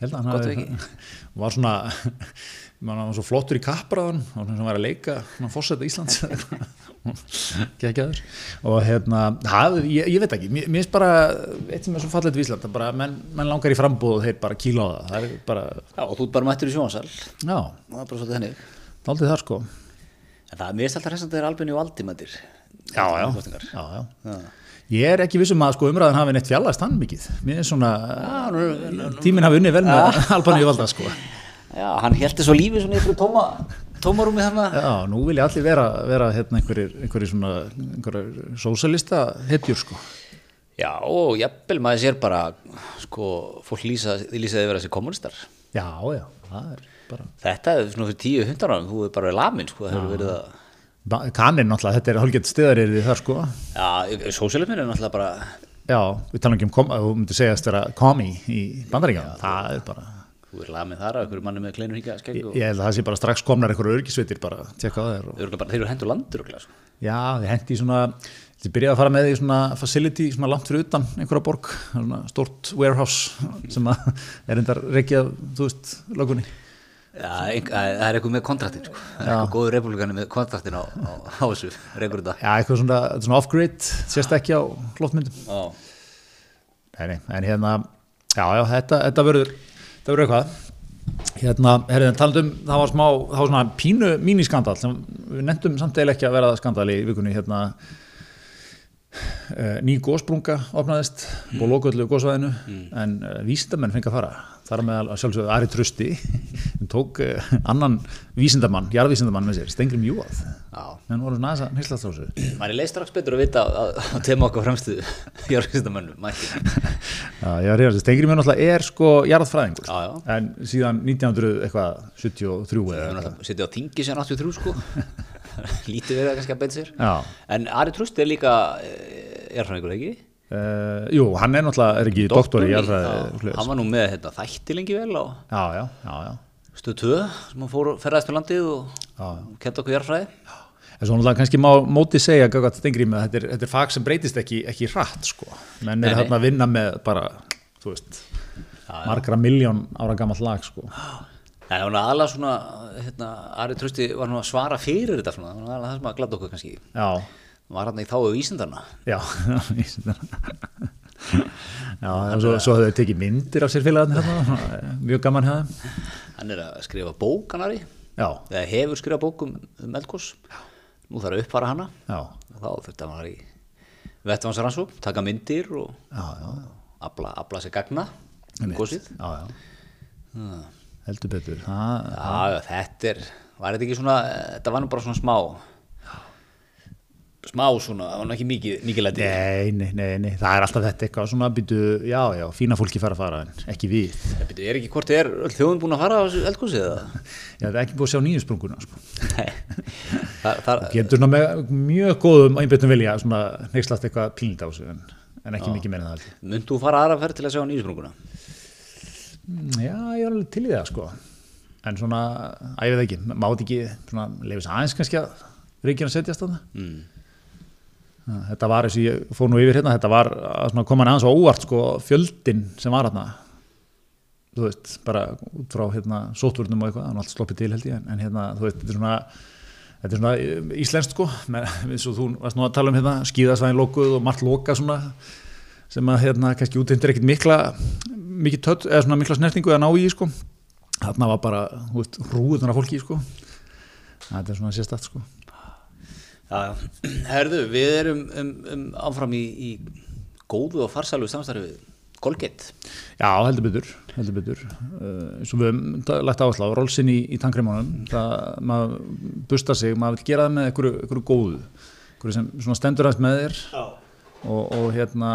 S2: held að hann
S1: Gott ef
S2: hafi- var svona mann var svo flottur í kappræðan og hann var að leika, hann fórseta Íslands geggjaður og hérna, haf, ég, ég veit ekki mér mér finnst bara, eitt sem er svo fallet við Ísland að bara, menn, menn langar í frambúð og þeir bara kíla á það, það er bara
S1: Já, og þú ert bara mættur í sjónsal
S2: já,
S1: það er bara svolítið henni
S2: daldið það sko
S1: en það er mest alltaf hressandi þegar Albin og Aldi mættir
S2: já, já,
S1: Kosningar.
S2: já, já. Ég er ekki vissum að sko umræðan hafi neitt fjallaðist hann mikið. Mér er svona, tíminn hafi unnið vel með Albaníu valda sko.
S1: já, hann heldur svo lífið svona ykkur tóma tómarúmi þarna
S2: Já, nú vil ég allir vera, vera hérna einhverjir, einhverjir svona, einhverjir sósalista hetjur sko.
S1: já, og jafnvel maður sér bara sko, fólk lýsa, lýsaði vera sér kommunistar
S2: Já, já, það er bara...
S1: þetta er svona fyrir tíu hundar árum þú er bara lamin, sko, það hefur verið að
S2: Ba- Kaninn náttúrulega, þetta er hálfgett stiðarið þar sko.
S1: já, sósélefnir er náttúrulega bara
S2: Já, við talum ekki um, kom, þú myndir segja að þetta er komi í bandaríkjana. Það er bara...
S1: þú er lamin þar að einhverju manni með kleinur hingað skegg
S2: Ég
S1: og
S2: ég held að það sé bara strax komnar einhverju örgisveitir bara að tjekka á þér og...
S1: örugglega bara- þeir eru hendur landur örugglega, sko.
S2: Já, þið hendi í svona, þið byrjaði að fara með því svona facility, svona langt fyrir utan einhverja borg, svona stort warehouse sem að er endar reikið, af, þú veist, lögunni.
S1: Já, ein- það það er eitthvað með kontraktin sko. Það er eitthvað góður republikani með kontraktin á, á, á þessu reykur þetta
S2: Já, eitthvað svona, þetta er svona off-grid, sést ekki á loftmyndum.
S1: Já.
S2: Nei, nei, en hérna, já, já, þetta, þetta verður, þetta verður eitthvað. Hérna, herriðin, talandum, það var smá, það var svona pínu míniskandal sem við nefndum samt eil ekki að vera skandal í vikunni, hérna, Uh, ný gósprunga opnaðist búið lókuðlu gósvæðinu en uh, vísindamenn fengi að fara þar á meðal að sjálfsögðu Ari Trusti sem tók uh, annan vísindamann jarðvísindamann með sér, Stengrim Júað
S1: Já.
S2: en voru svona aðeins að nýsla þessu
S1: Mæri leið strax betur að vita að, að tema okkar fremstu jörgistamönnum mætti.
S2: Já, ég var að reyna þessu, Stengrim er náttúrulega er sko jarðfræðingur
S1: Já, já.
S2: en síðan 1973
S1: Það
S2: eða
S1: er
S2: eitthvað
S1: náttúrulega Sitja á þingi sem 83 sko. Lítið verið að kannski að beita sér.
S2: Já.
S1: En Ari Trust er líka eh, jarðfræðingur ekki?
S2: uh, Jú, hann er náttúrulega, er ekki doktor í
S1: Já,
S2: jarðfræði
S1: Hann var nú með hérna, þætti lengi vel á
S2: Já, já, já, já
S1: stöð 2 sem hann fór ferðast með landið og kenda okkur jarðfræði.
S2: En svo náttúrulega kannski má móti segja gagat Stengrími að þetta er, þetta er fag sem breytist ekki, ekki hratt sko. Menn er
S1: Nei, nei.
S2: þarna að vinna með bara, þú veist, margra miljón ára gamall lag sko.
S1: Nei, hún var aðalega svona, hérna, Ari Trösti var nú að svara fyrir þetta svona, hún var aðalega það sem að glada okkur kannski.
S2: Já,
S1: Hún var hann í þáu vísindana.
S2: já, ég sé það. já, en svo, svo hefur þau tekið myndir af sér félagarnir hérna, mjög gaman hjá þeim.
S1: Hann er að skrifa bók, hann Ari,
S2: Já,
S1: eða hefur skrifað bók um, um eldgós. Nú þarf að uppfara hana
S2: já,
S1: og þá þurfti hann að vera í vettvansaransók, taka myndir og
S2: já, já,
S1: abla, abla sér gagna um
S2: einmitt.
S1: gósið.
S2: já, já, heldur betur, það,
S1: Já, já, þetta er, var þetta ekki svona, þetta var nú bara svona smá, smá svona, það var nú ekki mikið, mikið lætið.
S2: nei, nei, nei, nei, það er alltaf þetta eitthvað svona býtu, já, já, fína fólki fara að fara en ekki við.
S1: Það byrju, er ekki hvort er öll þjóðin búin að fara á þessu eldgósið eða?
S2: Já, það er ekki búið að sjá nýju sprunguna sko.
S1: Nei, það, það,
S2: getur svona með mjög góðum einbjöndum vilja svona neykslast eitthvað pínt á sig en, en ekki mikið meira en það held ég.
S1: mynd þú fara aðra ferð til að sjá nýjusprunguna?
S2: Mm, Já, ég er alveg til í það sko en svona, að ég veit ekki, mátt ekki svona, leifis aðeins kannski að ríkjana setjast þannig
S1: Mm.
S2: þetta var eins og ég fór nú yfir hérna þetta var að svona koma aðeins á óvart sko fjöldin sem var hérna þú veist, bara út frá hérna sótvörnum og eitthvað, hann var allt sloppið til held ég en, en hérna, þú veist, þetta er svona þetta er svona eh, íslenskt sko með, eins og þú varst nú að tala um hérna skíðasvæðin lokuð og margt loka svona sem að hérna kannski útindir ekkit mikla mikið tött, eða svona mikla snertingu að ná í sko, þarna var bara þú veist, rúðunar af fólki sko þetta er svona sérstætt sko
S1: Já, já. Herðu, við erum um, um, áfram í, í góðu og farsælu samstarfi Golgett.
S2: Já, heldur betur, heldur betur. Uh, svo við höfum ta- lagt áherslu á rólsinn í, í tankrimunum, það maður bustar sig, maður vil gera það með einhverju, einhverju góðu, einhverju sem svona stendur aðeins með þér
S1: Já.
S2: og, og hérna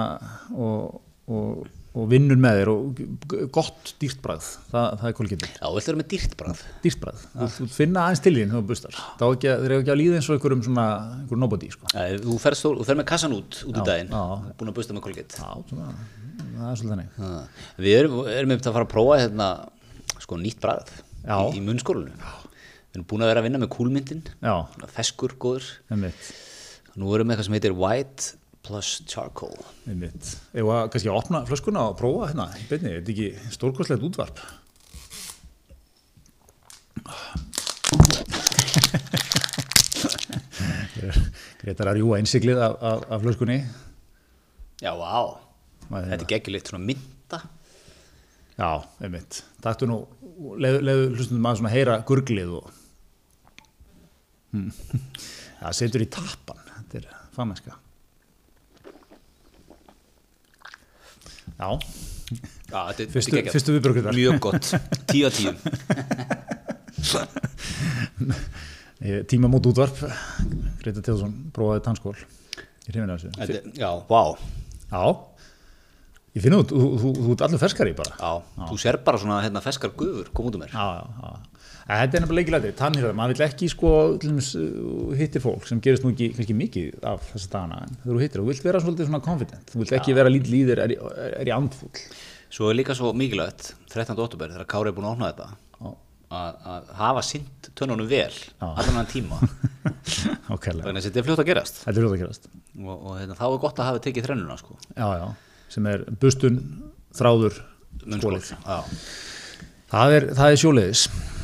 S2: og, og, og vinnur með þér og g- gott dýrtbræð, það, það er kólkipið.
S1: Já, við ætlum með dýrt brað.
S2: Dýrtbræð, þú, þú finna aðeins til þín þegar þú bustar, þá er ekki, að- þeir eru ekki að líða eins og einhverjum svona, einhverjum nobody, sko.
S1: Þú ferð þú fer með kassan út, út úr daginn,
S2: já.
S1: búin að busta með Golgett.
S2: Já, svona, það er svolítið þannig.
S1: Við erum, erum einmitt að fara að prófa hérna, sko, nýtt brað
S2: Já.
S1: í, í munnskólinu. Við erum búin að vera að vinna með kúlmyndin,
S2: Já,
S1: feskur góður.
S2: einmitt.
S1: Nú erum við með eitthvað sem heitir White plus charcoal
S2: einmitt. Eða kannski að opna flöskuna og prófa hérna, í beinni, er þetta ekki stórkostlegt útvarp? Gretar að rjúa einsiglið af, af, af flöskunni.
S1: Já, vá,
S2: Maður
S1: þetta er geggjulegt svona mynda
S2: Já, einmitt. Taktu nú, leiðu, leiðu hlustundum að svona heyra gurglið og... Hmm. Það setur í tappan, þetta er fagmennska. Já,
S1: Já, þetta er-
S2: Fyrstu-
S1: þetta er geggjað.
S2: fyrstu viðbrögðirnar.
S1: Mjög gott, 10 á 10
S2: Ég- Tímamót útvarp, Greta Tjóðsson, prófaði tannskól í hrifinu af þessu.
S1: Þetta er- Já, vá,
S2: Já, ég finn út, þú, þú, þú ert allur ferskari bara.
S1: já, þú sér bara svona hérna feskar gufur, kom út um mér
S2: Já, já, já. En Þetta er nefnilega leikilætið, tannhjörðar, maður vil ekki sko til dæmis, uh, hittir fólk sem gerist nú ekki kannski mikið af þessa dagana en þegar þú hittir, þú vilt vera svolítið svona confident, þú vilt ekki vera lítil í þér, er, í- er í andfúll.
S1: Svo er líka svo mikilvægt, 13. óttúber þegar Kári er búin að opna þetta
S2: Já.
S1: að, að hafa sint tönunum vel allan hann tíma
S2: Ákærlega,
S1: þannig að þetta er fljótt að gerast
S2: þetta er hljóta að gerast.
S1: og, og hérna, þá er gott að hafa tekið þrennuna sko.
S2: Já, já, sem er bustun, þráður,
S1: Munnskol.
S2: skólið.
S1: sko. Já.
S2: Það er, það er sjóleiðis.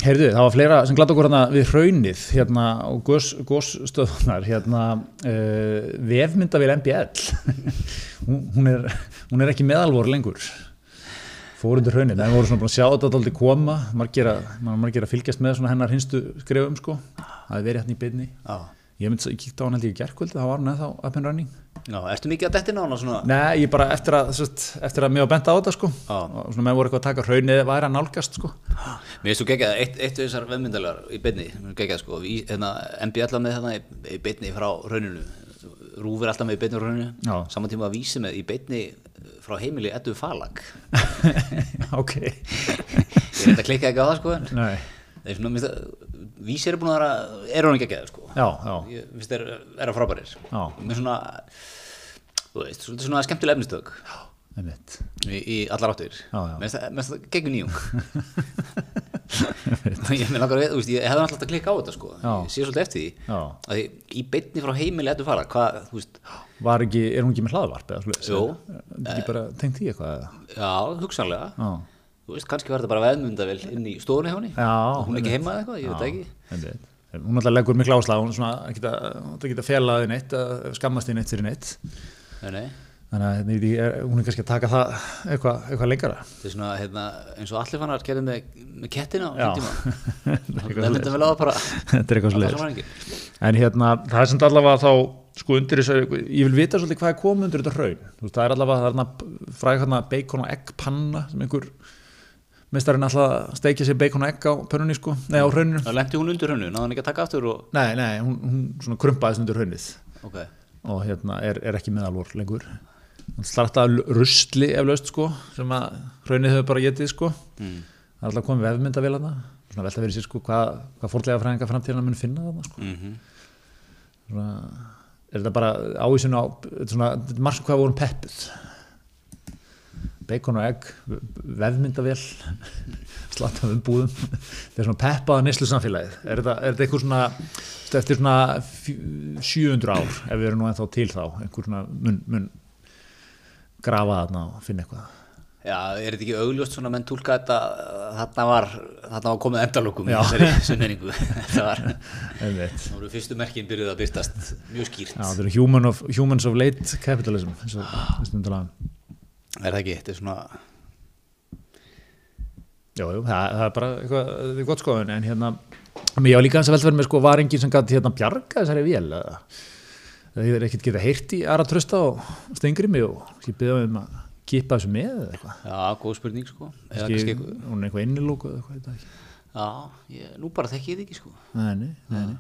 S2: Heyrðu, það var fleira sem glatt okkur hérna við hraunið hérna og gos- gosstöðunar hérna uh, vefmyndavél MBL. hún, hún, er, hún er ekki meðalvor lengur. Fór undir hraunið, menn voru svona búin að sjá þetta alltaf koma, margir að, maður margir að fylgjast með svona hennar hinstu skrefum sko. Það er verið hérna í byrni.
S1: Já.
S2: Ég myndi að kíkta á hann held ég í gerkvöldi, það var hann eða up and running.
S1: Já, ertu mikið að dettina hana svona?
S2: Nei, ég bara eftir að, sérst, eftir að mér var bent á þetta sko,
S1: Já.
S2: og svona menn voru eitthvað að taka hraunið, væri að nálgast sko.
S1: Mér finnst þú geggjað, eitt, eitt af þessar vefmyndalar í beinni, geggjað sko, í, hérna, MBL með hérna í, í beinni frá rauninu, Rúf er alltaf með í beinni frá rauninu,
S2: Já.
S1: saman tíma að vísi með í beinni eh, frá heimili Eddu Falag.
S2: ok.
S1: Ég reynda að klikka ekki á það sko, en
S2: Nei,
S1: það er svona, mér finnst það, vísi er búin að vera, er hún geggjað sko,
S2: já, já,
S1: ég finnst þeir vera frábærir,
S2: Já.
S1: með svona, þú veist, svona, svona skemmtileg efnistök
S2: einmitt.
S1: í, í allar áttir,
S2: Já, já.
S1: mér finnst það- mér finnst það geggjum nýjung. ég, mig langar að vita, þú veist, ég hefði alltaf að klikka á þetta sko.
S2: Já.
S1: ég sé svolítið eftir því
S2: Já.
S1: Af því, í beinni frá heimili ættu fara hvað, þú veist,
S2: Var ekki, er hún ekki með hlaðvarp eða slúið?
S1: Jú.
S2: Er ekki bara tengt í eitthvað eða?
S1: já, hugsanlega
S2: Já.
S1: þú veist, kannski var þetta bara veðmundavel inn í stofunni hjá henni
S2: Já,
S1: hún er ekki
S2: einmitt.
S1: heima eða eitthvað, ég veit það ekki
S2: Einmitt. Hún alltaf leggur mikla áslag, hún er svona, að geta, það geta felaði neitt, að skammast þið neitt fyrir neitt.
S1: nei, nei.
S2: Þannig að hérna, ég er, hún er kannski að taka það eitthvað, eitthvað lengara.
S1: þetta er svona, hérna, eins og allir fannar gerði með, með kettina á
S2: Já.
S1: sínum tíma
S2: Eitthvað
S1: veðmundavel á það bara
S2: Þetta er
S1: það
S2: eitthvað slúið.
S1: sem var engin
S2: En hérna, það er sem þetta allavega þá, sko undir þessu, ég vil vita svolítið hvað er komið undir þetta hraun. Þú veist, það er allavega, það er hérna fræg hérna bacon og egg panna sem einhver meistarinn alltaf að steikja sér bacon og egg á pönnunni, sko, nei á hrauninu.
S1: þá lendi hún undir hennu, náði hann ekki að taka aftur og,
S2: Nei, nei, hún, hún svona krumpaðist undir hraunið
S1: ok,
S2: og hérna er, er ekki meðalvor lengur. Hún startaði rusli eflaust, sko, sem að hraunið hefur bara getið, sko.
S1: mm.
S2: Það er alltaf komið vefmyndavélana, svona velta verið sér, sko, hvað, hvað fórlega fræðinga framtíðina mun finna þarna, sko.
S1: Mm
S2: svona, er þetta bara ávísun á þetta er svona, þetta er margt hvað vorum peppuð bacon og egg vefmyndavél slatt af umbúðum þetta er svona peppaða neslu samfélagið er þetta, er þetta einhver svona þetta er eftir svona fjú- 700 ár ef við erum nú ennþá til þá einhver svona mun, mun grafa þarna og finna eitthvað
S1: já, er þetta ekki augljóst svona menn tólka þetta, þarna var þarna var komið endalokum í
S2: Já.
S1: þessari sunningu þetta var
S2: einmitt
S1: Þá eru fyrstu merkin byrjuð að byrtast mjög skýrt.
S2: Já, þetta eru human of, humans of late capitalism eins og við stundum talaðum
S1: Er það ekki? Þetta er svona...
S2: Jú, jú, það, það er bara eitthvað þetta er gott skoðun, en hérna menn ég var líka hans að velferð með sko, var enginn sem gæti hérna bjarga þessari vél eða það er ekkert geta heyrt í Ara Trösta og stengri mig og ég byrði um að kippa þessu með eða eitthvað
S1: Já, góð spurning sko. Eða kannski
S2: Kannski-
S1: eitthvað...
S2: hún er eitthvað innilóku eða eitthvað ég veit það ekki.
S1: Já, ég, nú bara þekki ég þið ekki sko.
S2: nei, nei, nei, nei.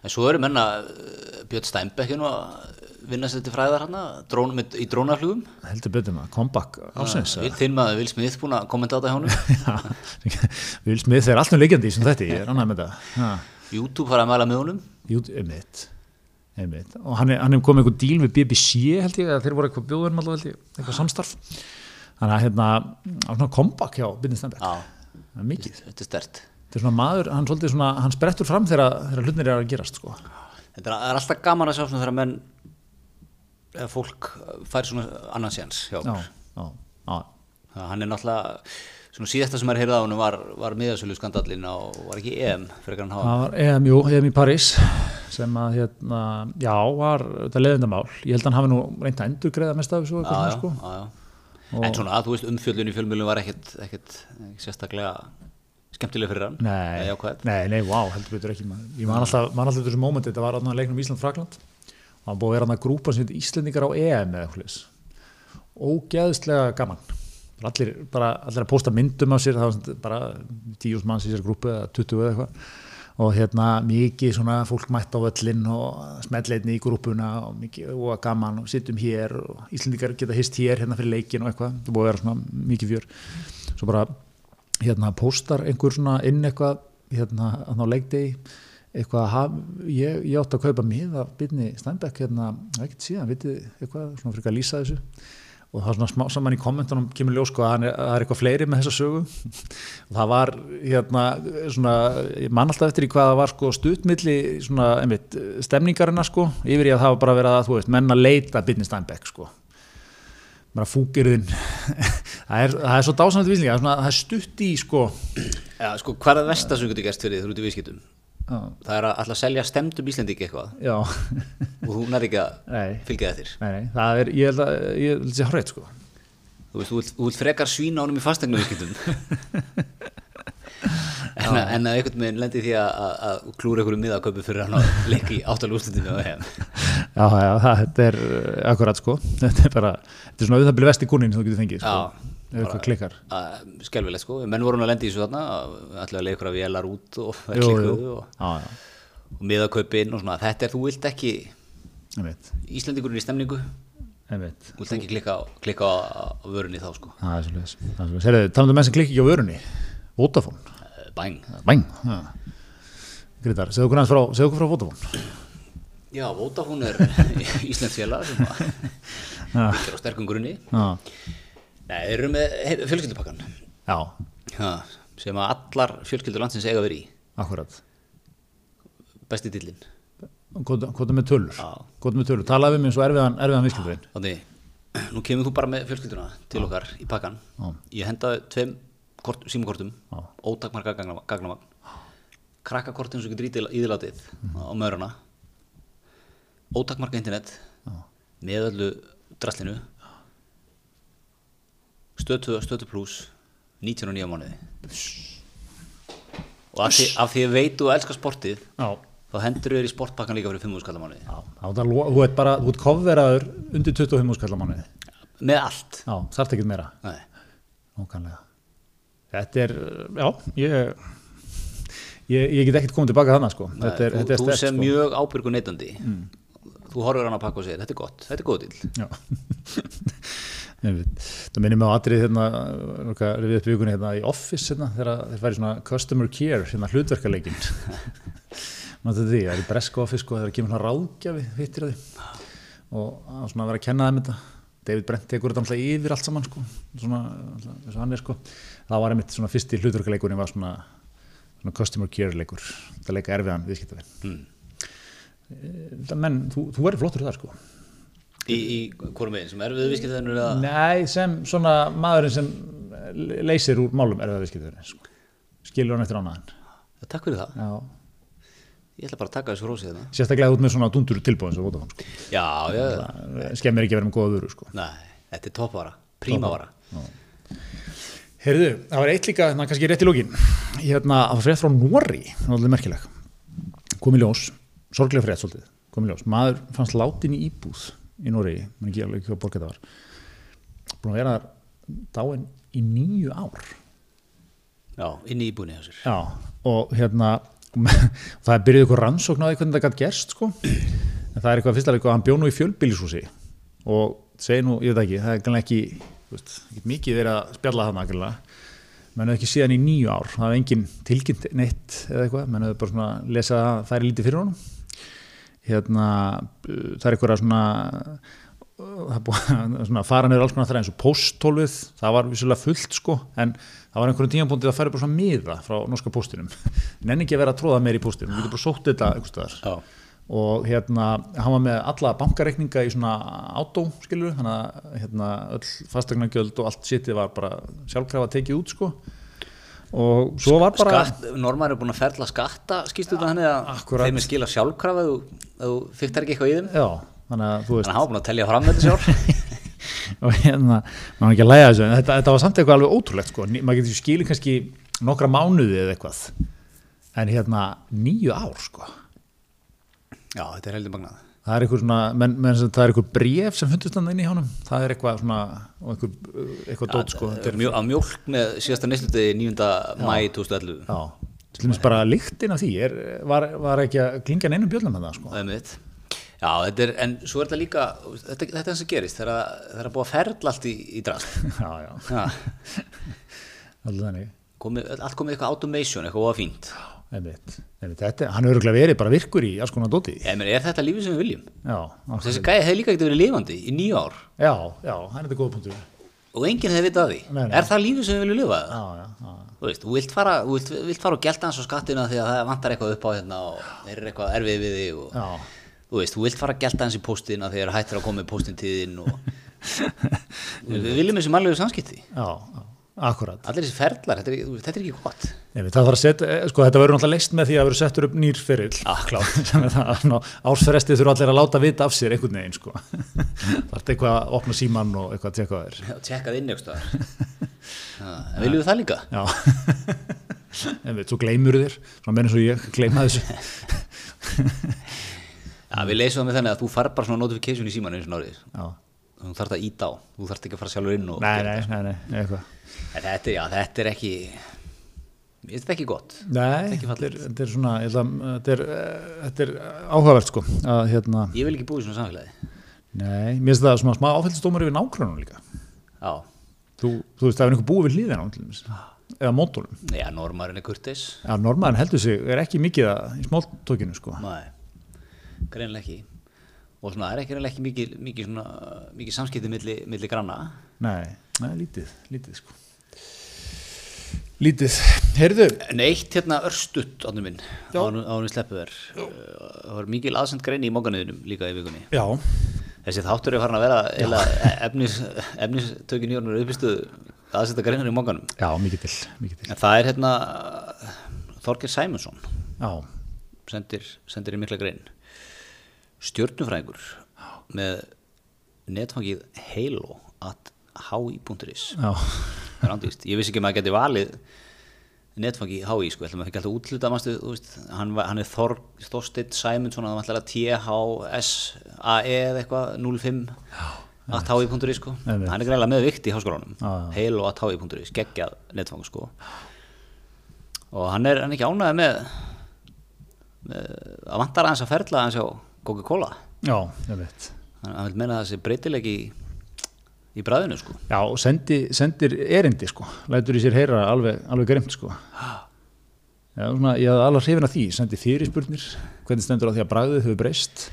S1: En svo eru menna uh, Björn Steinbeck nú að vinna sér til fræðar hana drón, með, í drónaflugum.
S2: heldur betur maður, comeback ásins
S1: Vil þinn maður Will Smith búin að kommenta á þetta hjá honum.
S2: við viljum smið þeir alltaf leikjandi í sem þetta, ég er annað með þetta ha.
S1: YouTube fara að mæla með honum.
S2: Jú, einmitt, einmitt. og hann er, hann er komið eitthvað díl við BBC held ég, eða þeir voru eitthvað bjóðum alltaf held ég, eitthvað samstarf þannig að hérna, á svona kompakk hjá Bindin Stenberg,
S1: Já,
S2: það er mikið
S1: þetta er stert.
S2: þetta er svona maður, hann svolítið svona, hann sprettur fram þegar, þegar hlutnir er að gerast sko.
S1: Þetta er, það er alltaf gaman að sjá svona þegar menn eða fólk fær svona annan séns hjá
S2: já,
S1: okkur
S2: já, já,
S1: Það- hann er náttúrulega svona síðasta sem maður heyrði á hann var, var miðasölu skandallin á, var ekki EM frekar hann hafa
S2: það var EM, jú, EM í París sem að hérna, já, var þetta leðindamál, ég held að hann hafi nú reynd að endurgreða mest af þessu
S1: Já,
S2: eitthvað
S1: já,
S2: svona, sko.
S1: já, já. en svona að þú veist umfjöldun í fjölmjölum var ekkit, ekkit sérstaklega skemmtileg fyrir hann
S2: Nei,
S1: Eða jákvæð.
S2: nei, nei, vá, heldur betur ekki maður. Ég man alltaf, man alltaf þessu mómenti, þetta var aðna leiknum Ísland-Frakland og hann búið að vera hann að grúpa sem heit Íslendingar á EM eða eitthvað leis. Ógeðslega gaman. Bara Allir, bara, allir að posta myndum af sér, það var sem- bara tíus manns í sér grúpu eða 20 eða eitthvað og hérna mikið svona fólk mætt á öllin og smetleitni í grúpuna og mikið og gaman og sittum hér og Íslendingar geta hist hér hérna fyrir leikin og eitthvað, það búið að vera svona mikið fjör svo bara hérna póstar einhver svona inn eitthvað hérna hann á leikdegi eitthvað að haf, ég, ég átti að kaupa miða af Birni Steinbeck hérna ekkert síðan, vitið eitthvað, svona fyrir að lýsa þessu og það var svona smá saman í kommentunum kemur ljós sko að hann er, að það er eitthvað fleiri með þessa sögu og það var hérna svona, ég man alltaf eftir í hvað það var sko stuttmilli svona einmitt stemningarina sko, yfir í að það var bara verið að þú veist, menn að leita Birni Steinbeck sko bara fúkirðin það, er, það er svo dásamlega víslinga, það er, svona, það er stutt í sko
S1: Já, sko, hvað er það versta sem þú getur gert fyrir þér þú ert í viðskiptum?
S2: já,
S1: Það er að alltaf að selja stemdum Íslandík eitthvað
S2: já.
S1: og þú nær ekki að
S2: Nei,
S1: fylgja þér
S2: nei, nei, það er ég held að, ég held að sé hrætt sko
S1: Þú veist, þú vilt- þú vilt frekar svína honum í fastegna viðskiptum en, að- en að einhvern veginn lendi í því að, að, að klúra einhverju miðaköpu fyrir hann að leika í áttalústundinu og heim
S2: já, já, það, þetta er uh, akkurat sko, þetta er bara þetta er svona auðvitað vesti kúnin sem þú getur fengið sko,
S1: Já,
S2: ef eitthvað klikkar
S1: Skelvilegt sko, menn voru hann að lendi í þessu þarna allavega leika ykkur að vélar út og
S2: Jú, jú.
S1: klikkuðu og,
S2: já, já,
S1: og miðaköpin og svona þetta er, þú vilt ekki,
S2: einmitt,
S1: Íslandingurinn í stemningu þú
S2: einmitt
S1: vilt ekki klikka, á- klikka á, á vörunni þá sko
S2: það er svolítið, það er svolítið, serðu, talaðu um menn sem klikki ekki á vörunni Vodafone,
S1: Eh, bang
S2: bæn Greitar, segðu okkur aðeins frá, segðu okkur frá Vodafone
S1: Já, Vodafone er Íslands félag sem að
S2: Já.
S1: byggir á sterkum grunni
S2: já,
S1: Nei, þeir eru með he- fjölskyldupakkan
S2: já,
S1: ha, sem að allar fjölskyldur landsins eiga verið í
S2: akkurat
S1: besti dillin
S2: Hvað hvað er með tölur?
S1: Já.
S2: Hvað er með tölur? Talaðu við mér svo erfiðan, erfiðan viðskiptavinn.
S1: Þannig, nú kemur þú bara með fjölskylduna til okkar í pakkan
S2: Já.
S1: Ég hendaði tveim kort, símakortum
S2: Já.
S1: ótakmarka gagnama- gagnamagn krakkakortin sem getur ídil- íðlátið
S2: Mhm.
S1: á möruna ótakmarka internet með öllu draslinu stötu, stötu pluss 19 og 9 mánuði og af því, af því ég veit þú elskar sportið
S2: Já.
S1: þá hendur þér í sportpakkan líka fyrir 5 skallamánuði
S2: Já, þá er þetta lo- þú ert bara, þú ert kofveraður undir 25 skallamánuði.
S1: með allt
S2: Já, þarf ekkert meira,
S1: Nei.
S2: nókanlega. Þetta er, já, ég, ég, ég get ekkert komið tilbaka þannig, sko.
S1: Nei,
S2: þetta er,
S1: þú,
S2: þetta er
S1: þú
S2: sterkt,
S1: sem
S2: sko. Mm.
S1: mjög ábyrgu neytandi þú horfur hann að pakka og segir þetta er gott, þetta er góð til
S2: Já. Einmitt. Það minnir mig á atrið hérna, okkar rifið upp í vikunni hérna í Office hérna, þegar þeir færi svona Customer Care, hérna hlutverkaleikin. Maður þetta því, það er í Breska Office sko, þegar kemur svona ráðgjafi, hittir því. Og það var svona að vera að kenna þeim þetta. David Brent tekur þetta alltaf yfir allt saman sko, svona, alltaf eins og hann er sko. Það var einmitt svona fyrsti hlutverkaleikunni var svona, svona Customer Care leikur. Þetta leika erfiðan viðskiptafinn.
S1: mm.
S2: Menn, þú, þú verður flottur þar sko.
S1: í, í hvorum veginn sem erfiðu viðskiptæðinu eða
S2: Nei, sem svona maðurinn sem leysir úr málum erfiða viðskipturinn sko. skilur hann eftir ánaðan
S1: Já, takk fyrir það,
S2: já.
S1: ég ætla bara að taka þessu rósið þetta
S2: sérstaklega út með svona dundur tilbúin svo Vodafone sko.
S1: já, já,
S2: Það skemmir ekki að vera með góða vöru sko.
S1: nei, þetta er toppvara prímavara,
S2: Heyrðu, það var eitt líka, hérna, kannski rétt í lókin hérna, það var frétt frá Nóri það var alveg merkileg komið ljós, sorglega frétt svolítið komið ljós, maður fannst látin í íbúð í Nóri, mann ekki alveg hvað borg þetta var búin að vera þar dáin í nýju ár
S1: já, inni í búinni þessir
S2: Já, og hérna það er byrjuð eitthvað rannsókn á því hvernig það gætt gerst sko. en það er eitthvað fyrst að eitthvað, hann bjó nú í fjölbýlishúsi og segi nú, ég veit ekki, það er gæmlega ekki, þú veist, ekki mikið verið að spjalla þarna gæmlega menn hefur ekki síðan í nýju ár, það er engin tilkynnt neitt eða eitthvað, menn hefur bara svona lesað að það er lítið fyrir honum hérna, uh, það er eitthvað svona það er búið að svona fara niður alls konar þar eins og pósttólfið, það var vissulega fullt sko, en það var einhverjum tímanbúndið að færa bara svona miða frá norska póstinum nenni ekki að vera að tróða meir í póstinum, við getum bara sótt þetta einhvers staðar
S1: já,
S2: og hérna, hann var með alla bankareikninga í svona átó skilur, þannig að hérna, öll fastegnagjöld og allt sitið var bara sjálfkrafa tekið út sko og svo var bara
S1: Skatt, normar er búin að ferla skatta skýstu þetta hann eða
S2: akkurat.
S1: þeim er skila sjálfkrafa ef þú, ef þú fikk þær ekki eitthvað í þeim
S2: já, þannig að þú veist
S1: þannig að hann var búin að telja fram þetta sjálf
S2: og hérna, maður er ekki að læja þessu en þetta, þetta var samt eitthvað alveg ótrúlegt sko. Ný- maður getur skilin kannski nokkra mánuði eða eitthvað en hérna nýju ár sko
S1: já, þetta er heldur magnað
S2: það er eitthvað svona, menn, menn, sem- það er eitthvað bref sem fundust hann inn í honum, það er eitthvað svona og eitthvað, eitthvað dót sko þetta er,
S1: Mjó, að mjólk með síðasta nýstutiði 9. mæ 2011
S2: já, til dæmis bara lyktin af því er, var, var ekki að klingja neinum bjöllum með það sko
S1: Það er mitt. Já, þetta er, en svo er þetta líka, þetta, þetta er eins og gerist, það er að, það er að búa að ferla allt í, í drast.
S2: já, já,
S1: Ja.
S2: alltaf þannig
S1: Komi, allt komið eitthvað automation, eitthvað ofa fínt.
S2: einmitt, einmitt, þetta, hann er örgulega verið bara virkur í alls konar dóti já,
S1: Ég meina, er þetta lífið sem við viljum?
S2: já,
S1: Þessi gæði hefði líka ekkert verið lifandi í nýju ár
S2: já, já, hann er þetta góða punktur
S1: og enginn hefði vitað af því.
S2: Nei, nei.
S1: Er það lífið sem við viljum lifa?
S2: já, já, já
S1: Þú veist, þú vilt fara, þú vilt, vilt fara og gelta hans á skattina því að það vantar eitthvað upp á hérna og þeir eru eitthvað erfið við þig og
S2: Já,
S1: þú veist, þú vilt fara að gelta hans í póstin að þeir eru hættir að koma í póstin tíðin og við við viljum þessi mannlegu samskipti.
S2: já, já, akkurat.
S1: Allir þessi ferlar, þetta er, þú veist, þetta er ekki gott.
S2: Nei, við- það var að setja, eh, sko þetta verður náttúrulega leist með því að verður settur upp nýr ferill. Já, klátt. Sem er það, ná, ársferðestið þurfa allir að láta vita af sér einhvern veginn, sko. það er eitthvað að opna símann og eitthvað að tjekka á þér.
S1: Já, tjekkað inn eitthvað. En viljum við það líka?
S2: Já, en veit, svo gleymur þér, svona meðan svo ég gleyma þessu.
S1: Já, við leysum það með þannig að þú far bara svona notification í símanu eins og nárið.
S2: Já,
S1: Þú þarft að íta á, þú þarft ekki að fara sjálfur inn og...
S2: nei, nei, nei, nei, eitthvað.
S1: En þetta, er- já, þetta er ekki, mér finnst þetta ekki gott.
S2: Nei, þetta er, þetta er svona, ég ætla, þetta er, eh, þetta er áhugavert, sko, að hérna,
S1: Ég vil ekki búið í svona samfélagi.
S2: nei, mér finnst það svona smá áfællstómar yfir nágrunum líka.
S1: Já,
S2: Þú, þú veist, það er einhver búið við hliðina á hann til dæmis, eða mótólum.
S1: já, normarinn er kurtis.
S2: Já, normaðan heldur sig, er ekki mikið að, í smáltókinu, sko.
S1: Nei, greinlega ekki. Og svona, það er ekki greinlega ekki mikið, mikið, svona, mikið samskipti milli, milli granna.
S2: Nei, nei, lítið, lítið, sko. Lítið. Heyrðu,
S1: En eitt hérna örstutt, áttum minn, ánum við sleppu þér. Uh, Það var mikil aðsend grein í móganuðinum líka í vikunni.
S2: já,
S1: Þessi þáttur er farin að vera eiginlega e- efnis, efnistökin í honum er uppistuð aðsetta greinar í mókanum.
S2: já, mikið til, mikið til.
S1: En það er hérna Þorger Sæmundsson
S2: Já,
S1: sendir, sendir í mikla grein stjörnufræðingur með netfangið halo at hi.is
S2: já,
S1: það er andist, ég vissi ekki að maður geti valið netfangi hái, sko, ætlum að ekki alltaf útluta mannstu, þú veist, hann, var- hann er Þor, Þorsteinn Sæmundsson, hann ætlar að THSAE E eða eitthvað 05 at hái.is sko,
S2: Einmitt.
S1: hann er greiðlega með vikt í háskólanum,
S2: Já, já.
S1: heil og at hái.is geggjað netfang sko og hann er hann er ekki ánægði með, með að vantar aðeins að ferla aðeins á Coca-Cola,
S2: já, ég veit.
S1: hann, hann vil meina þessi breytilegi í, í bræðinu sko
S2: Já, og sendi, sendir erindi, sko, lætur í sér heyra alveg, alveg greimt, sko. Já, svona, ég hafði alveg hrifin að því, sendi fyrirspurnir, hvernig stendur á því að bragðið hefur breyst,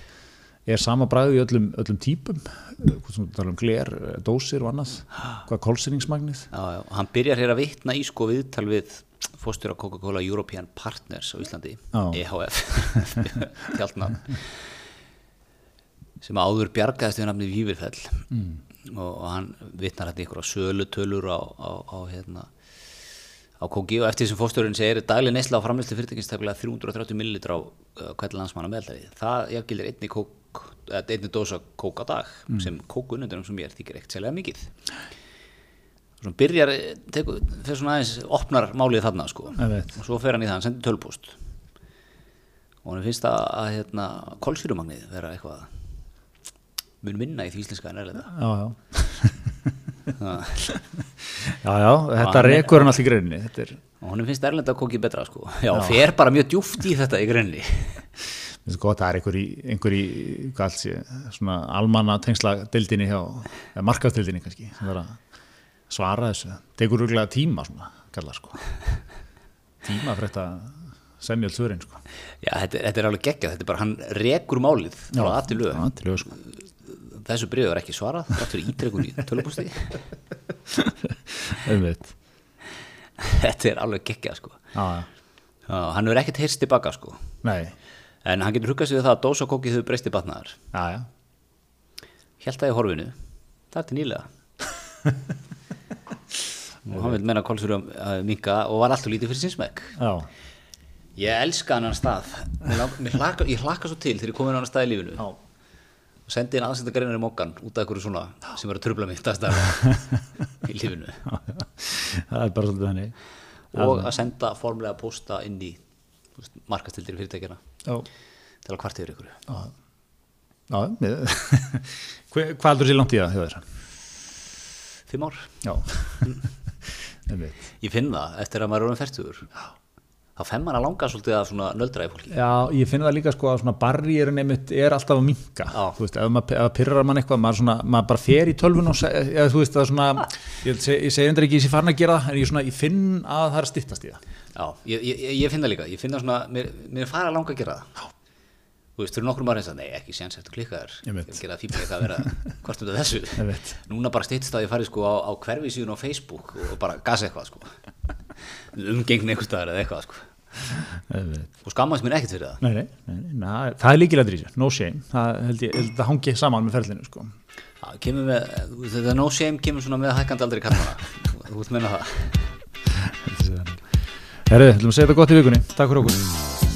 S2: er sama bragðið í öllum, öllum típum, hvort sem við tala um gler, eh, dósir og annað, hvað er kólsýringsmagnið?
S1: Já, já, og hann byrjar hér að vitna í sko viðtal við fórstjóra Coca-Cola European Partners á Íslandi,
S2: Já.
S1: EHF tjaldnafn sem áður bjargaðist við nafni Vífirfell og, og hann vitnar hérna ykkur á sölutölur á, á, á hérna á kóki og eftir þessum fórstjórun segir dagli neysla á framlýslu fyrirtækins tækulega 330 millilitra á uh, hvern landsmanna meðaltæði það jafngildir einni kók eða einni dósa kók á dag sem kókunundunum sem ég er þykir ekkert sérlega mikið Svo hann byrjar, eh, tekur, fyrir svona aðeins, opnar málið þarna sko.
S2: Einmitt.
S1: Og svo fer hann í það, hann sendir tölpóst. Og hann finnst að, að hérna, kolsýrumagnið vera eitthvað mun minna í því íslenska en er þetta.
S2: Já, já. já, já, þetta rekur hann allt í greinni, þetta er,
S1: Og hann finnst erlenda kókið betra sko. Já, Já. fer bara mjög djúft í þetta í grunni.
S2: Mér finnst gott, það er einhver í, einhver í hvað alls ég, svona almanna tengsla deildinni hjá, eða markaðdeildinni kannski, sem verður að svara þessu. Tekur rúglega tíma svona, kallar sko. Tíma fyrir þetta semjöld svörin sko.
S1: Já, þetta, þetta er alveg geggjað, þetta er bara, hann rekur málið frá aðti lög.
S2: Já, til lög sko.
S1: Þessu bregður er ekki svarað, þrátt fyrir ítrekun í tölpósti.
S2: Auðvitað.
S1: þetta er alveg geggjað sko.
S2: Já, já.
S1: Já, hann verður ekkert heyrst tilbaka sko.
S2: Nei.
S1: en hann getur huggað sig við það að dósa kókið hefur breyst í batnaðar
S2: já, já.
S1: Hjælt það í horfinu, það er til nýlega og hann vil menna kólsurum að minka og var alltaf lítið fyrir sinnsmæk
S2: Já.
S1: Ég elska hann stað Mér lang- mér hlakka, Ég hlakka svo til þegar ég komin á hann stað í lífinu
S2: Já.
S1: og sendi inn aðsenda greinar í mokkan út af einhverju svona sem er að trubla mig dagstarf í lífinu
S2: það er bara svolítið henni
S1: og að senda formlega posta inn í þú veist, markastildir fyrirtækjana
S2: já,
S1: til að kvarta yfir ykkur
S2: já, já mér- Hve- hvað heldur sér langt í það hjá þér?
S1: Fimm ár
S2: já Einmitt.
S1: Ég finn það eftir að maður er orðin færtugur þá fenn maður að langa svolítið að svona nöldra í fólki
S2: Já, ég finn það líka sko að svona barriérin einmitt er alltaf að minka,
S1: Já.
S2: þú veist, ef maður ef pyrrar mann eitthvað, maður, svona, maður bara fer í tölvun og se- eða þú veist, það er svona, ég, seg, ég segir endur ekki að ég sé farin að gera það, en ég, svona, ég finn að það er að styttast í það.
S1: Já, ég, ég, ég- ég finn það líka, ég finn það svona, mér, mér er fara að langa að gera það. Já. Þú veist, fyrir nokkrum ára eins að, nei, ekki séns eftir klikkaður,
S2: Ég veit.
S1: vil gera það fíblik að vera, hvort um það þessu.
S2: Ég veit.
S1: Núna bara stýttist að ég farið sko á, á hverfi síðan á Facebook og bara gasa eitthvað sko, umgengni einhvers staðar eða eitthvað sko.
S2: Nei,
S1: Og skammaðist mér ekkert fyrir það.
S2: nei, nei, nei, nei, það er líkilega drísið, no shame, það held ég, held það hangi saman með ferlinu sko.
S1: Það kemur með, þú veist, þetta no shame kemur svona með hækkandi aldrei kallana, þú ert meina það.
S2: Herðu, ætlum að segja þetta gott í vikunni, takk fyrir okkur.